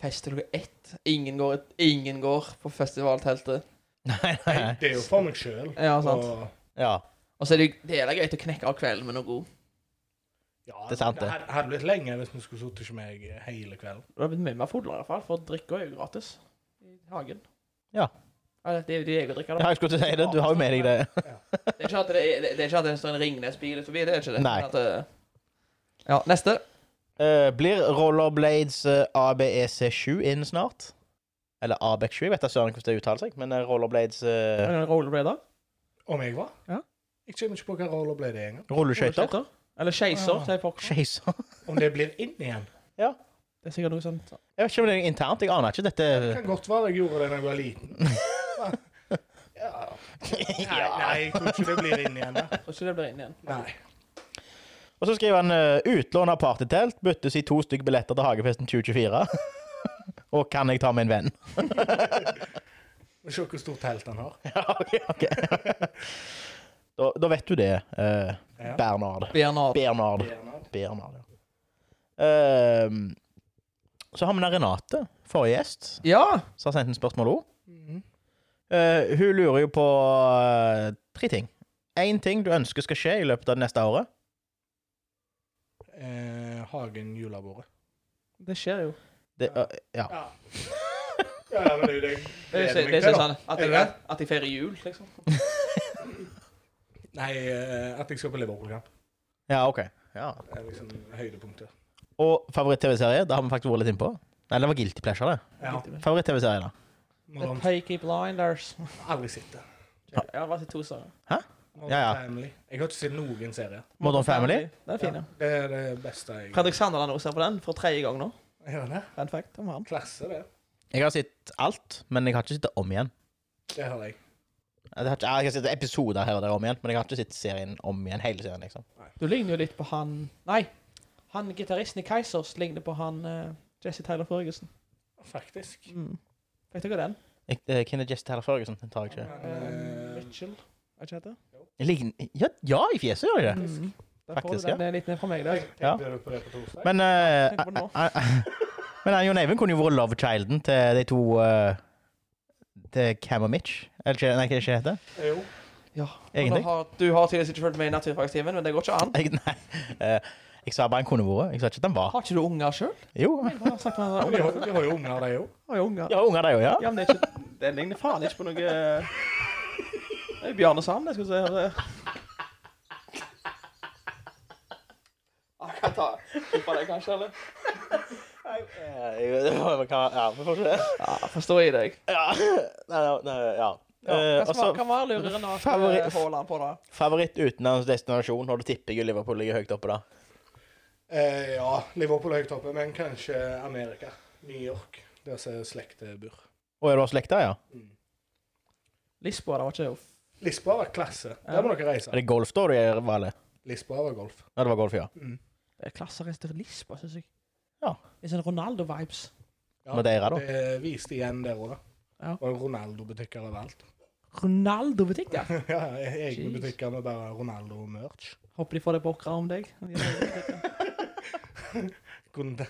[SPEAKER 3] Fest til klokka ett. Ingen går, ingen går på festivalteltet.
[SPEAKER 2] Nei, nei,
[SPEAKER 4] Nei,
[SPEAKER 2] nei.
[SPEAKER 4] det er jo for meg sjøl.
[SPEAKER 3] Ja, sant. Og,
[SPEAKER 4] Og
[SPEAKER 2] Ja.
[SPEAKER 3] så er det jo det er greit å knekke av kvelden med noe god.
[SPEAKER 4] ja,
[SPEAKER 2] Det er sant, det.
[SPEAKER 4] hadde- hadde blitt lenge hvis vi skulle sittet hos meg eh, hele kvelden.
[SPEAKER 5] Du har blitt mye mer fodler, i hvert fall, for drikke er jo gratis i hagen.
[SPEAKER 2] Ja.
[SPEAKER 5] Eller, det er jo det jeg drikker,
[SPEAKER 2] ja,
[SPEAKER 5] da.
[SPEAKER 2] jeg skulle til å si det. Du har jo med deg det.
[SPEAKER 3] Det er ikke at det, er, det er ikke at det står en Ringnes-bil forbi. Det er ikke det.
[SPEAKER 2] Nei.
[SPEAKER 3] Men At, eh, ja, neste.
[SPEAKER 2] Eh, blir Rollerblades eh, ABEC7 inn snart? Eller ABEC7? Jeg vet da søren hvordan det uttaler seg, men eh, Rollerblades
[SPEAKER 5] Er
[SPEAKER 2] uh,
[SPEAKER 5] det en rollerblader?
[SPEAKER 4] Om jeg var?
[SPEAKER 5] Ja.
[SPEAKER 4] Jeg kommer ikke på hvilken rolle ble det engang.
[SPEAKER 2] rulleskøyter?
[SPEAKER 5] Rulleskøyter? Eller skeiser, sier folk.
[SPEAKER 2] Skeiser.
[SPEAKER 4] Om det blir inn igjen.
[SPEAKER 5] Det er sikkert noe sånt.
[SPEAKER 2] Jeg vet ikke om det er internt. Jeg aner ikke dette.
[SPEAKER 4] Det kan godt være jeg gjorde det da jeg var liten. Ja. Nei, nei, jeg tror ikke det blir inn igjen. da.
[SPEAKER 5] Jeg tror ikke det blir inn igjen.
[SPEAKER 4] Nei.
[SPEAKER 2] Og så skriver han eh, 'utlån av partytelt, byttes i to stygge billetter til hagefesten 2024'. Og kan jeg ta med en venn?
[SPEAKER 4] Men se hvor stort telt han har.
[SPEAKER 2] Ja, ok, ok. da, da vet du det, eh,
[SPEAKER 4] Ja.
[SPEAKER 2] Bernard.
[SPEAKER 3] Bernard.
[SPEAKER 2] Bernard.
[SPEAKER 4] Bernhard.
[SPEAKER 2] Bernard, ja. Ehm, så har vi da Renate, forrige gjest,
[SPEAKER 3] Ja!
[SPEAKER 4] Mhm.
[SPEAKER 2] som har sendt en spørsmål òg. Eh, hun lurer jo på eh, tre ting. Én ting du ønsker skal skje i løpet av det neste året.
[SPEAKER 4] Eh, Hagen julebordet.
[SPEAKER 5] Det skjer jo.
[SPEAKER 2] Det, eh, ja.
[SPEAKER 4] Ja. Ja, men det er jo det jeg
[SPEAKER 3] Det
[SPEAKER 4] gleder
[SPEAKER 3] er
[SPEAKER 4] meg
[SPEAKER 3] det
[SPEAKER 4] til,
[SPEAKER 3] er
[SPEAKER 4] da.
[SPEAKER 3] sånn at jeg, at jeg feirer jul, liksom.
[SPEAKER 4] Nei, eh, at jeg skal på Liverpool-kamp.
[SPEAKER 2] ja, OK. Ja.
[SPEAKER 4] Det er liksom høydepunktet.
[SPEAKER 2] Og favoritt-TV-serie. Det har vi faktisk vært litt innpå. Nei, det var Guilty Pleasure, det.
[SPEAKER 4] Ja,
[SPEAKER 2] Favoritt-TV-serie, da.
[SPEAKER 5] The
[SPEAKER 4] Modern
[SPEAKER 5] Peaky Blinders.
[SPEAKER 4] aldri sett det.
[SPEAKER 5] Jeg har vært i to serier.
[SPEAKER 4] Modern
[SPEAKER 2] Ja, ja.
[SPEAKER 4] Family. Jeg har ikke sett noen serie.
[SPEAKER 2] Modern Family.
[SPEAKER 5] Den er fin, ja.
[SPEAKER 4] Det er det beste jeg
[SPEAKER 3] Fredrik Sandeland også ser på den for tredje gang nå.
[SPEAKER 4] Gjør det?
[SPEAKER 5] Fun fact om han.
[SPEAKER 4] Klasse, det.
[SPEAKER 2] Jeg har sett alt, men jeg har ikke sett det om igjen.
[SPEAKER 4] Det har jeg.
[SPEAKER 2] Jeg har, ikke, jeg har sett episoder her og der om igjen, men jeg har ikke sett serien om igjen. hele serien, liksom.
[SPEAKER 5] Du ligner jo litt på han Nei, han gitaristen i Keisers ligner på han eh, Jesse Tyler Ferguson.
[SPEAKER 4] Faktisk.
[SPEAKER 5] Mm. Fikk dere den?
[SPEAKER 2] Jeg, eh, Hvem er Jess Taylor Ferguson? Den tar jeg ikke.
[SPEAKER 5] Eh,
[SPEAKER 4] Eh,
[SPEAKER 5] Mitchell, er ikke det?
[SPEAKER 2] Jeg ligner- Ja, ja, i fjeset gjør jeg det.
[SPEAKER 5] Mm. Der får du
[SPEAKER 2] Faktisk,
[SPEAKER 5] den eh, liten fra meg der.
[SPEAKER 2] Ja.
[SPEAKER 4] Tenkte du på det på torsdag?
[SPEAKER 2] Men eh,
[SPEAKER 5] Tenk på det nå.
[SPEAKER 2] eh, eh, Men eh, Jon Eivind kunne jo vært love childen til de to eh, Til Cam og Mitch. Eller ikke, nei, hva er det ikke det heter?
[SPEAKER 4] Eh, jo.
[SPEAKER 3] Og nå
[SPEAKER 2] Egentlig.
[SPEAKER 3] Har, du har tydeligvis ikke fulgt med i Naturfagstimen, men det går ikke an.
[SPEAKER 2] Jeg, nei. eh, jeg sa bare han kunne vært. Jeg sa ikke at han var.
[SPEAKER 3] Har ikke du unger sjøl?
[SPEAKER 2] Jo.
[SPEAKER 4] Men De har, de har jo unger, de òg.
[SPEAKER 3] Har jo unger.
[SPEAKER 2] Ja, unger, de òg, ja.
[SPEAKER 3] Ja, men det, er ikke, det ligner faen ikke på noe Det er Bjarne Sand, jeg skulle si. her. Ah, Jeg kan ta klippe det, kanskje, eller?
[SPEAKER 2] Eh, Ja, vi får se.
[SPEAKER 3] Ja, forstår jeg deg.
[SPEAKER 2] Ja. Nei, nei, ja.
[SPEAKER 3] Ja,
[SPEAKER 2] Eh,
[SPEAKER 3] hva
[SPEAKER 2] også-
[SPEAKER 3] smaker hva lurer Renate
[SPEAKER 2] favoritt-
[SPEAKER 3] eh, Haaland på, da?
[SPEAKER 2] Favoritt utenlandsdestinasjon, og da tipper jeg jo Liverpool ligger høyt oppe, da.
[SPEAKER 4] Eh, ja, Liverpool er høyt oppe, men kanskje Amerika. New York. Der som slektet bor.
[SPEAKER 2] Og er du av slekta, ja?
[SPEAKER 4] Mm.
[SPEAKER 5] Lisboa, det var ikke jo
[SPEAKER 4] Lisboa var klasse.
[SPEAKER 5] Ja.
[SPEAKER 4] Der må dere reise.
[SPEAKER 2] Er det golf da du gjør valget?
[SPEAKER 4] Lisboa var golf.
[SPEAKER 2] Ja, det var golf, ja.
[SPEAKER 3] Eh,
[SPEAKER 5] Det er klasserest til Lisboa, syns jeg.
[SPEAKER 2] Ja.
[SPEAKER 5] Litt sånn Ronaldo-vibes.
[SPEAKER 4] Ja,
[SPEAKER 2] Madeira, da.
[SPEAKER 4] Det viste igjen der òg, da.
[SPEAKER 5] Ja.
[SPEAKER 4] Det var Ronaldo-butikker overalt.
[SPEAKER 5] Ronaldo-butikk, ja.
[SPEAKER 4] ja, e- egne
[SPEAKER 5] Jeez.
[SPEAKER 4] butikker med bare Ronaldo-merch.
[SPEAKER 5] Håper de får det bokra om deg.
[SPEAKER 4] Kunne-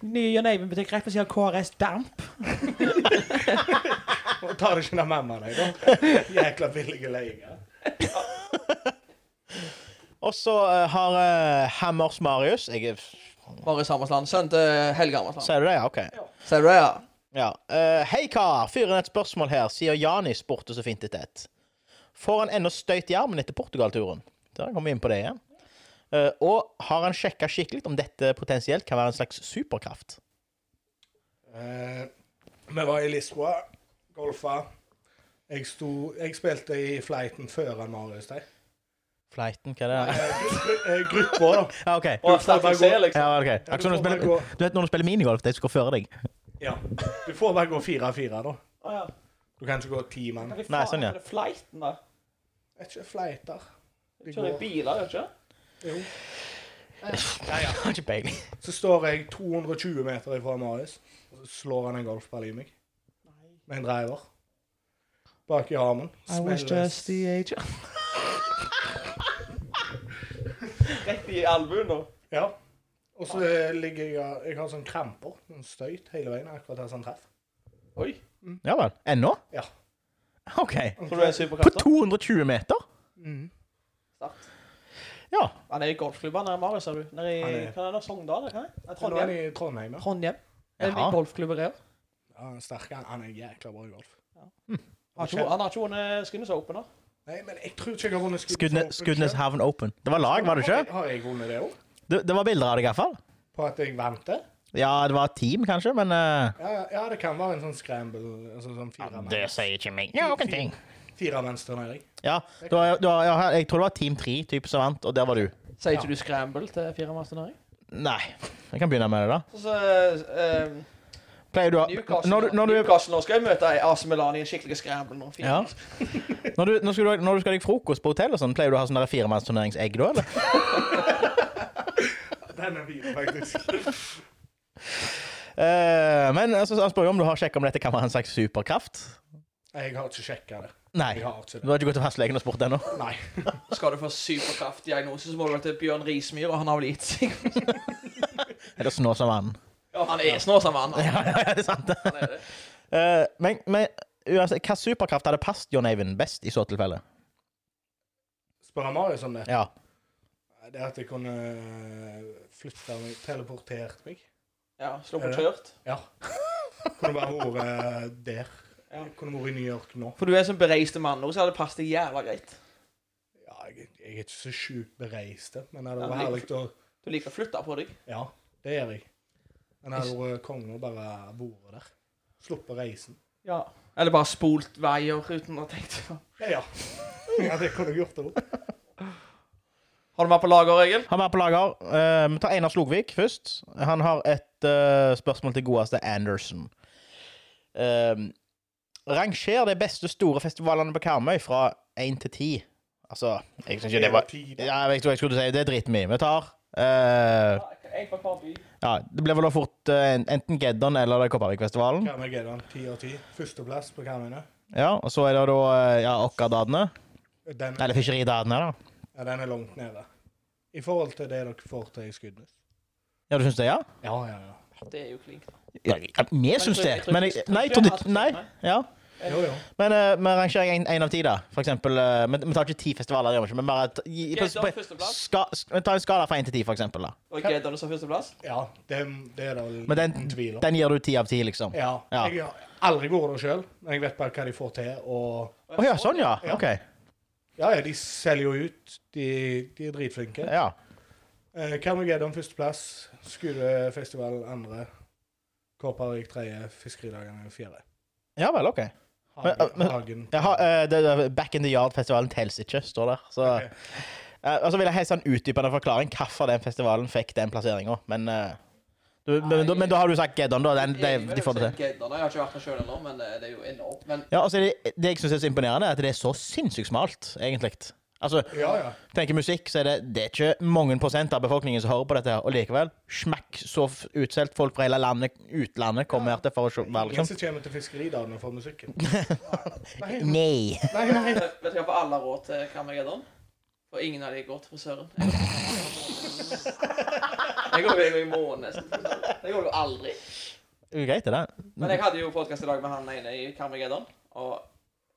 [SPEAKER 5] Ny John Eivind-butikk rett ved siden av KRS Damp.
[SPEAKER 4] Og Tar du ikke den mamma deg, da? Jækla billige leier.
[SPEAKER 2] Og så eh, har eh, Hammers Marius jeg, er-
[SPEAKER 3] Marius Hammersland. Sønnen til Helge Hammersland.
[SPEAKER 2] Sier du det? Ja, OK.
[SPEAKER 3] Ser du det, ja?
[SPEAKER 2] Ja. Eh, Hei, kar. Fyrer inn et spørsmål her, sier Jani spurte så fint etter et. Får han ennå støyt i armen etter Portugal-turen? Der kommer vi inn på det igjen. Eh, og har han sjekka skikkelig om dette potensielt kan være en slags superkraft?
[SPEAKER 4] Eh, vi var i Lisboa, golfa. Jeg, sto, jeg spilte i flighten før han Marius der.
[SPEAKER 2] Flighten, hva er det?
[SPEAKER 4] Eh, Gruppa, da.
[SPEAKER 2] Ja, OK.
[SPEAKER 3] Og sterke
[SPEAKER 4] bare gå-
[SPEAKER 3] C, liksom.
[SPEAKER 2] Ja, ok. Akkurat som når du,
[SPEAKER 4] får bare
[SPEAKER 2] spiller, du vet når du spiller minigolf, de som går før deg?
[SPEAKER 4] Ja. Du får bare gå fire-fire, da.
[SPEAKER 3] Å, ja.
[SPEAKER 4] Du kan ikke gå ti mann.
[SPEAKER 3] Men fy
[SPEAKER 2] Nei,
[SPEAKER 3] faen,
[SPEAKER 2] sånn, ja.
[SPEAKER 3] er det Flighten, da?
[SPEAKER 4] Jeg er ikke flighter.
[SPEAKER 3] Du kjører i biler, gjør du ikke?
[SPEAKER 4] Jo.
[SPEAKER 2] Har ikke peiling.
[SPEAKER 4] Så står jeg 220 meter ifra Marius, og så slår han en golfball i meg. Med en driver. Bak i armen.
[SPEAKER 5] I was
[SPEAKER 4] Smeller
[SPEAKER 5] just the age
[SPEAKER 3] Rett i albuen nå.
[SPEAKER 4] Ja. Og så eh, ligger jeg Jeg har sånn kramper. Sånn støyt hele veien akkurat der som treff.
[SPEAKER 3] Oi.
[SPEAKER 2] Ja vel. Ennå?
[SPEAKER 4] Ja.
[SPEAKER 2] OK.
[SPEAKER 3] Tror du det er
[SPEAKER 2] På
[SPEAKER 3] superkrefter?
[SPEAKER 2] 220 meter?
[SPEAKER 4] Mm.
[SPEAKER 3] Sterkt.
[SPEAKER 2] Ja.
[SPEAKER 3] Han er i golfklubben nede i Marius, sa du. Nede i
[SPEAKER 4] Han er-
[SPEAKER 3] hva er det da? Sogndal? eller hva er det? Nei,
[SPEAKER 4] Nå er
[SPEAKER 3] Trondheim.
[SPEAKER 4] han i Trondheim, ja.
[SPEAKER 5] Trondheim. Det er
[SPEAKER 2] Jaha.
[SPEAKER 5] mye golfklubber her.
[SPEAKER 4] ja han er sterk. Han- Han er jækla bra i golf.
[SPEAKER 3] Han har ikke- han har ikke vunnet Skudenes Open, da.
[SPEAKER 4] Nei, men jeg tror ikke jeg har vunnet
[SPEAKER 2] Skudenes, Skudenes
[SPEAKER 4] selv.
[SPEAKER 2] Havn Open. Det var lag, var det ikke?
[SPEAKER 4] Har jeg vunnet det òg?
[SPEAKER 2] Det, det var bilder av det, i hvert fall.
[SPEAKER 4] På at jeg vant det?
[SPEAKER 2] Ja, det var et team, kanskje, men eh,
[SPEAKER 4] Ja, ja, det kan være en sånn scramble. Altså sånn
[SPEAKER 2] Det
[SPEAKER 4] firemanns-
[SPEAKER 2] sier ikke meg noen ting.
[SPEAKER 4] firemannsturnering.
[SPEAKER 2] Ja, det var, det var, ja, jeg tror det var Team 3 type, som vant, og der var du.
[SPEAKER 3] Sier
[SPEAKER 4] ikke
[SPEAKER 3] ikke du scramble til firemannsturnering?
[SPEAKER 2] Nei. Jeg kan begynne med det, da.
[SPEAKER 3] Så, så, eh,
[SPEAKER 2] Pleier du å
[SPEAKER 3] Newcastle,
[SPEAKER 2] Når du, når du
[SPEAKER 3] Newcastle nå skal jeg møte AC Milan i en skikkelig scramble nå. Fire.
[SPEAKER 2] ja. Når du, når skal du, når du skal deg frokost på hotell, og sånn, pleier du å ha sånn der firemannsturneringsegg da? eller?
[SPEAKER 4] Den er fin, faktisk.
[SPEAKER 2] Eh, men altså, han spør jo om du har sjekka om dette kan være en slags superkraft.
[SPEAKER 4] Jeg har ikke sjekka det.
[SPEAKER 2] Nei.
[SPEAKER 4] Jeg har ikke
[SPEAKER 2] Du
[SPEAKER 4] det.
[SPEAKER 2] har ikke gått til fastlegen og spurt ennå?
[SPEAKER 4] Nei.
[SPEAKER 3] Skal du få superkraftdiagnose, så må du gå til Bjørn Rismyr, og han har vel gitt seg.
[SPEAKER 2] Eller snå som vann?
[SPEAKER 3] Ja, han er snå som han.
[SPEAKER 2] Ja, ja, det er sant.
[SPEAKER 3] han er det.
[SPEAKER 2] Eh, men, men uansett, hva superkraft hadde passet John Eivind best i så tilfelle?
[SPEAKER 4] Spør han Marius om det?
[SPEAKER 2] Ja.
[SPEAKER 4] Det er at jeg kunne flytta meg, teleportert meg.
[SPEAKER 3] Ja, slå på
[SPEAKER 4] Er det?
[SPEAKER 3] kjørt.
[SPEAKER 4] Kunne bare vært eh, der.
[SPEAKER 3] Ja.
[SPEAKER 4] Jeg kunne vært i New York nå.
[SPEAKER 3] For du er en sånn bereiste mann nå, så hadde det passet deg jævla greit.
[SPEAKER 4] Ja, jeg, jeg er ikke så sjukt bereist,
[SPEAKER 3] Ja,
[SPEAKER 4] men det hadde vært
[SPEAKER 3] men
[SPEAKER 4] herlig
[SPEAKER 3] jeg-
[SPEAKER 4] å
[SPEAKER 3] Du liker å flytte på deg.
[SPEAKER 4] Ja, det gjør jeg. Men det hadde vært konge å bare vært der. Sluppet reisen.
[SPEAKER 5] Ja.
[SPEAKER 3] Eller bare spolt veier uten å ha tenkt.
[SPEAKER 4] Ja, ja. ja det kunne jeg gjort òg.
[SPEAKER 3] Har du mer på lager, Egil?
[SPEAKER 2] Han er på lager. Eh, Vi tar Einar Slogvik først. Han har et eh, spørsmål til godeste Anderson. Um, ranger de beste store festivalene på Karmøy fra 1 til 10. Altså, jeg syns ikke det var
[SPEAKER 4] Tid.
[SPEAKER 2] ja, jeg, tror jeg skulle si Det er dritmye. Vi tar eh,
[SPEAKER 5] Jeg får bare by.
[SPEAKER 2] Ja, det ble vel da fort eh, enten Geddon eller det er Kopervikfestivalen.
[SPEAKER 4] Karmageddon, ti av ti. Førsteplass på Karmøyene.
[SPEAKER 2] Ja, og så er det da eh, ja, Okkadadene.
[SPEAKER 4] Den,
[SPEAKER 2] Eller Fiskeridadene, da.
[SPEAKER 4] ja, den er langt nede. I forhold til det dere får til i Skudenes.
[SPEAKER 2] Ja, du syns det, ja?
[SPEAKER 4] Ja, ja, ja.
[SPEAKER 5] Det er jo klink.
[SPEAKER 2] Ja, vi syns det. Men jeg, nei, jeg trodde ikke Nei. Ja.
[SPEAKER 4] Jo, jo.
[SPEAKER 2] Men eh, vi rangerer en- en av ti, da. For eksempel eh, men Vi tar ikke ti festivaler, det gjør vi ikke, men bare ta- gi- på-
[SPEAKER 3] Geddon
[SPEAKER 2] på-
[SPEAKER 3] førsteplass.
[SPEAKER 2] ska- sk- Vi tar en skala fra én til ti, for eksempel. Da.
[SPEAKER 3] Og Geddon som førsteplass?
[SPEAKER 4] Ja, det, det er det vel
[SPEAKER 2] Men den-
[SPEAKER 4] ingen tvil om.
[SPEAKER 2] Den gir du ti av ti, liksom. Å
[SPEAKER 4] Ja.
[SPEAKER 2] Ja.
[SPEAKER 4] Jeg har aldri vært der sjøl, men jeg vet bare hva de får til. Og
[SPEAKER 2] ja, sånn, ja.
[SPEAKER 4] Ja.
[SPEAKER 2] OK.
[SPEAKER 4] ja, ja, de selger jo ut. De, de er dritflinke.
[SPEAKER 2] Ja.
[SPEAKER 4] Eh, Carmageddon førsteplass, Skudefestivalen andre, Kåpervik tredje, Fiskeridagene fjerde.
[SPEAKER 2] Ja vel, OK. Men,
[SPEAKER 4] Hagen,
[SPEAKER 2] men-
[SPEAKER 4] Hagen.
[SPEAKER 2] Jeg har, eh, det, det- Back in the Yard-festivalen teller ikke, står der. Så
[SPEAKER 4] Ok.
[SPEAKER 2] eh, og så vil jeg ha en sånn utdypende forklaring hvorfor den festivalen fikk den plasseringa, men eh, du, men, da- men da har du sagt Geddon, da. Den, de, de får det til.
[SPEAKER 3] Geddon, Jeg har ikke vært der sjøl ennå, men eh, det er jo enormt. Men
[SPEAKER 2] Ja, altså, det, det jeg syns er så imponerende, er at det er så sinnssykt smalt, egentlig. Altså,
[SPEAKER 4] Ja, ja.
[SPEAKER 2] tenker musikk, så er det, det er ikke mange prosent av befolkningen som hører på dette. her, Og likevel, smakk så f- utsolgt. Folk fra hele landet, utlandet kommer her til for å se. være
[SPEAKER 4] Ingen
[SPEAKER 2] Liksom.
[SPEAKER 4] som kommer til Fiskeridagene for musikken. Nei, nei,
[SPEAKER 2] Nei.
[SPEAKER 4] nei.
[SPEAKER 3] vet vet du hva for alle har råd til Carmageddon? For ingen av de går til frisøren. Jeg går jo i måneden nesten. til frisøren. Det går jo aldri.
[SPEAKER 2] Det er jo Greit, det der.
[SPEAKER 3] Men jeg hadde jo podkast i dag med han ene i Carmageddon, og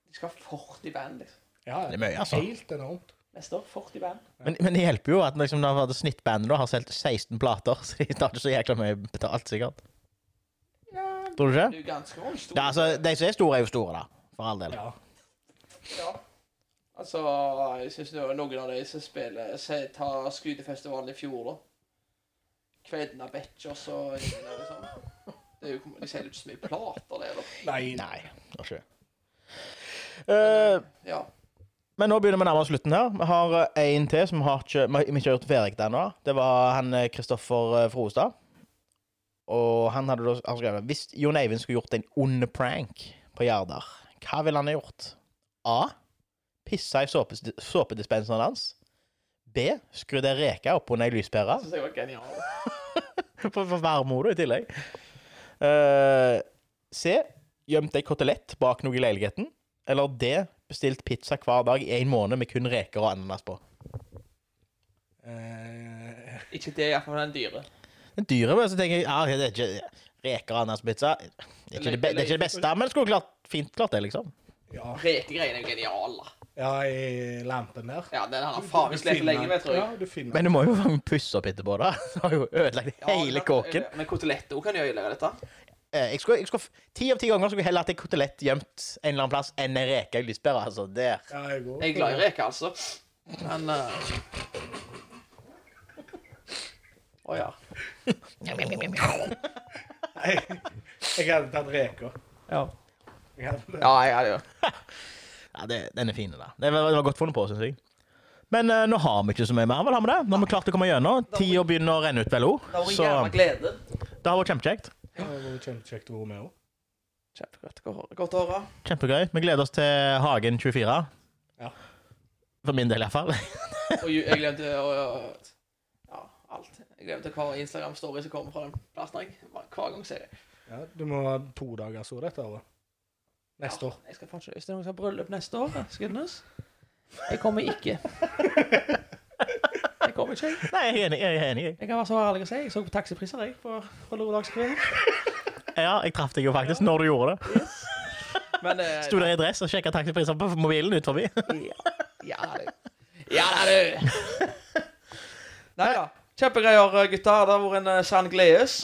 [SPEAKER 3] de skal ha 40 band liksom.
[SPEAKER 4] Ja,
[SPEAKER 2] Det er mye, altså.
[SPEAKER 4] Helt enormt.
[SPEAKER 3] neste år. 40 band.
[SPEAKER 2] Men, men det hjelper jo at liksom, da hadde snittbandet da har solgt 16 plater, så de tar ikke så jækla mye betalt, sikkert. Tror du ikke?
[SPEAKER 3] Det er jo ganske mange store.
[SPEAKER 2] Ja, altså, de som er store, er jo store, da. For all del.
[SPEAKER 4] Ja.
[SPEAKER 3] Ja. Altså, jeg syns det var noen av de som spiller se, Ta Skudefestivalen i fjor, da. Kvedna Betchers og ingen av de sånn. Det er jo, de selger jo ikke så mye plater, det, da.
[SPEAKER 4] Nei.
[SPEAKER 2] Nei, det var ikke det. Eh,
[SPEAKER 3] Ja.
[SPEAKER 2] Men nå begynner vi nærmere slutten her. Vi har eh, en til som har ikke, vi ikke har gjort ferdig ennå. Det var han eh, Kristoffer eh, Froestad. Og han hadde da han skrevet Hvis Jon Eivind skulle gjort en ond prank på Gjerdar, hva ville han ha gjort? A. Pissa i såpes- såpedispenseren hans. B. Skrudd ei reke oppunder ei lyspære.
[SPEAKER 3] Jeg syns jeg var genial.
[SPEAKER 2] For, for varme i tillegg. Eh, C. Gjemt ei kotelett bak noe i leiligheten. Eller D. Bestilt pizza hver dag i en måned med kun reker og ananas på.
[SPEAKER 4] Eh,
[SPEAKER 3] Ikke det, iallfall den dyre.
[SPEAKER 2] Den dyre, men så tenker jeg ja, det er ikke reker og ananas-pizza. Det, er ikke det be- det er ikke det beste, men det skulle klart, fint klart det, liksom.
[SPEAKER 4] ja.
[SPEAKER 3] Rekegreiene er jo geniale.
[SPEAKER 4] ja, i lampen der.
[SPEAKER 3] Ja, den har han faen meg slitt lenge med, tror jeg.
[SPEAKER 4] Ja, du finner
[SPEAKER 2] Men du må jo fange puss opp etterpå, da. Du har jo ødelagt
[SPEAKER 3] Ja,
[SPEAKER 2] hele
[SPEAKER 3] men-
[SPEAKER 2] kåken.
[SPEAKER 3] Men koteletto kan jo ødelegge dette.
[SPEAKER 2] Eh, Jeg skulle, jeg skulle, ti av ti ganger skulle jeg heller hatt ei kotelett gjemt en eller annen plass enn ei reke i lyspæra. Altså, der.
[SPEAKER 4] Ja, jeg går.
[SPEAKER 3] Jeg er glad i reker, altså. Men eh, Å ja.
[SPEAKER 4] Jeg, jeg hadde tatt reker.
[SPEAKER 5] Ja.
[SPEAKER 4] Jeg hadde-
[SPEAKER 3] Ja, jeg hadde jo
[SPEAKER 2] Ja, det, den er fin, da. Det var, det var godt funnet på, syns jeg. Men eh, nå har vi ikke så mye mer. Vel, har vi det? Nå har vi klart å komme gjennom. Tida begynner å renne ut, vel òg.
[SPEAKER 3] Det var en
[SPEAKER 2] Så
[SPEAKER 3] jævla glede.
[SPEAKER 2] det har vært kjempekjekt.
[SPEAKER 4] Det var kjempekjekt å være med òg.
[SPEAKER 3] Kjempegodt å høre- godt å høre.
[SPEAKER 2] Kjempegøy. Vi gleder oss til Hagen 24.
[SPEAKER 4] Ja.
[SPEAKER 2] For min del, iallfall.
[SPEAKER 3] Og ju- jeg glemte å Ja, alt. Jeg glemte hver Instagram-story som kommer fra den plassen. jeg. Hver gang ser jeg.
[SPEAKER 4] Ja, du må ha to dager så dette året. Neste år.
[SPEAKER 5] Ja, Jeg skal faen ikke Hvis det er noen som har bryllup neste år, Skudenes Jeg kommer ikke. Jeg kommer ikke, jeg.
[SPEAKER 2] Nei, jeg er enig. Jeg er enig. jeg.
[SPEAKER 5] Jeg kan være så ærlig å si. Jeg så på taxipriser, jeg, på, på lørdagskvelden.
[SPEAKER 2] Ja, jeg traff deg jo faktisk når du gjorde det.
[SPEAKER 3] Men eh,
[SPEAKER 2] Sto der i dress og sjekka taxipriser på mobilen ut forbi.
[SPEAKER 3] Ja da, du. Ja da, du. Nei da. Kjempegreier, gutter. Det har vært en eh, sann gledes.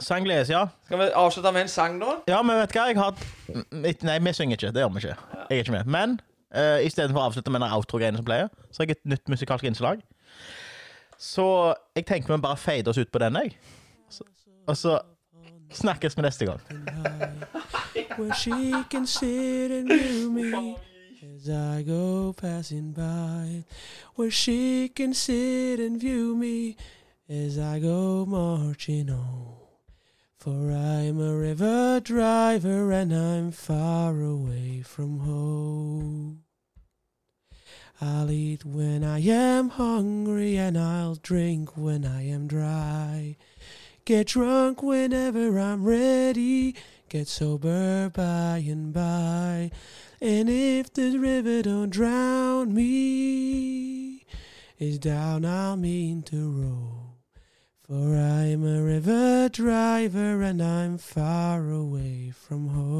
[SPEAKER 2] Sang gledes, ja.
[SPEAKER 3] Skal vi avslutte med en sang, da?
[SPEAKER 2] Ja, men vet du hva? Jeg har Mm, Nei, vi synger ikke. Det gjør vi ikke. Jeg er ikke med. Men uh, istedenfor å avslutte med den outro-greien som pleier, så har jeg et nytt musikalsk innslag. Så jeg tenker vi bare fader oss ut på den, jeg. Så- Og så snakkes vi neste gang.
[SPEAKER 1] where she can sit and view me as I go passing by, where she can sit and view me as I go marching on. For I'm a river driver and I'm far away from home. I'll eat when I am hungry and I'll drink when I am dry. Get drunk whenever I'm ready. Get sober by and by. And if the river don't drown me, it's down I'll mean to row. For I'm a river driver and I'm far away from home.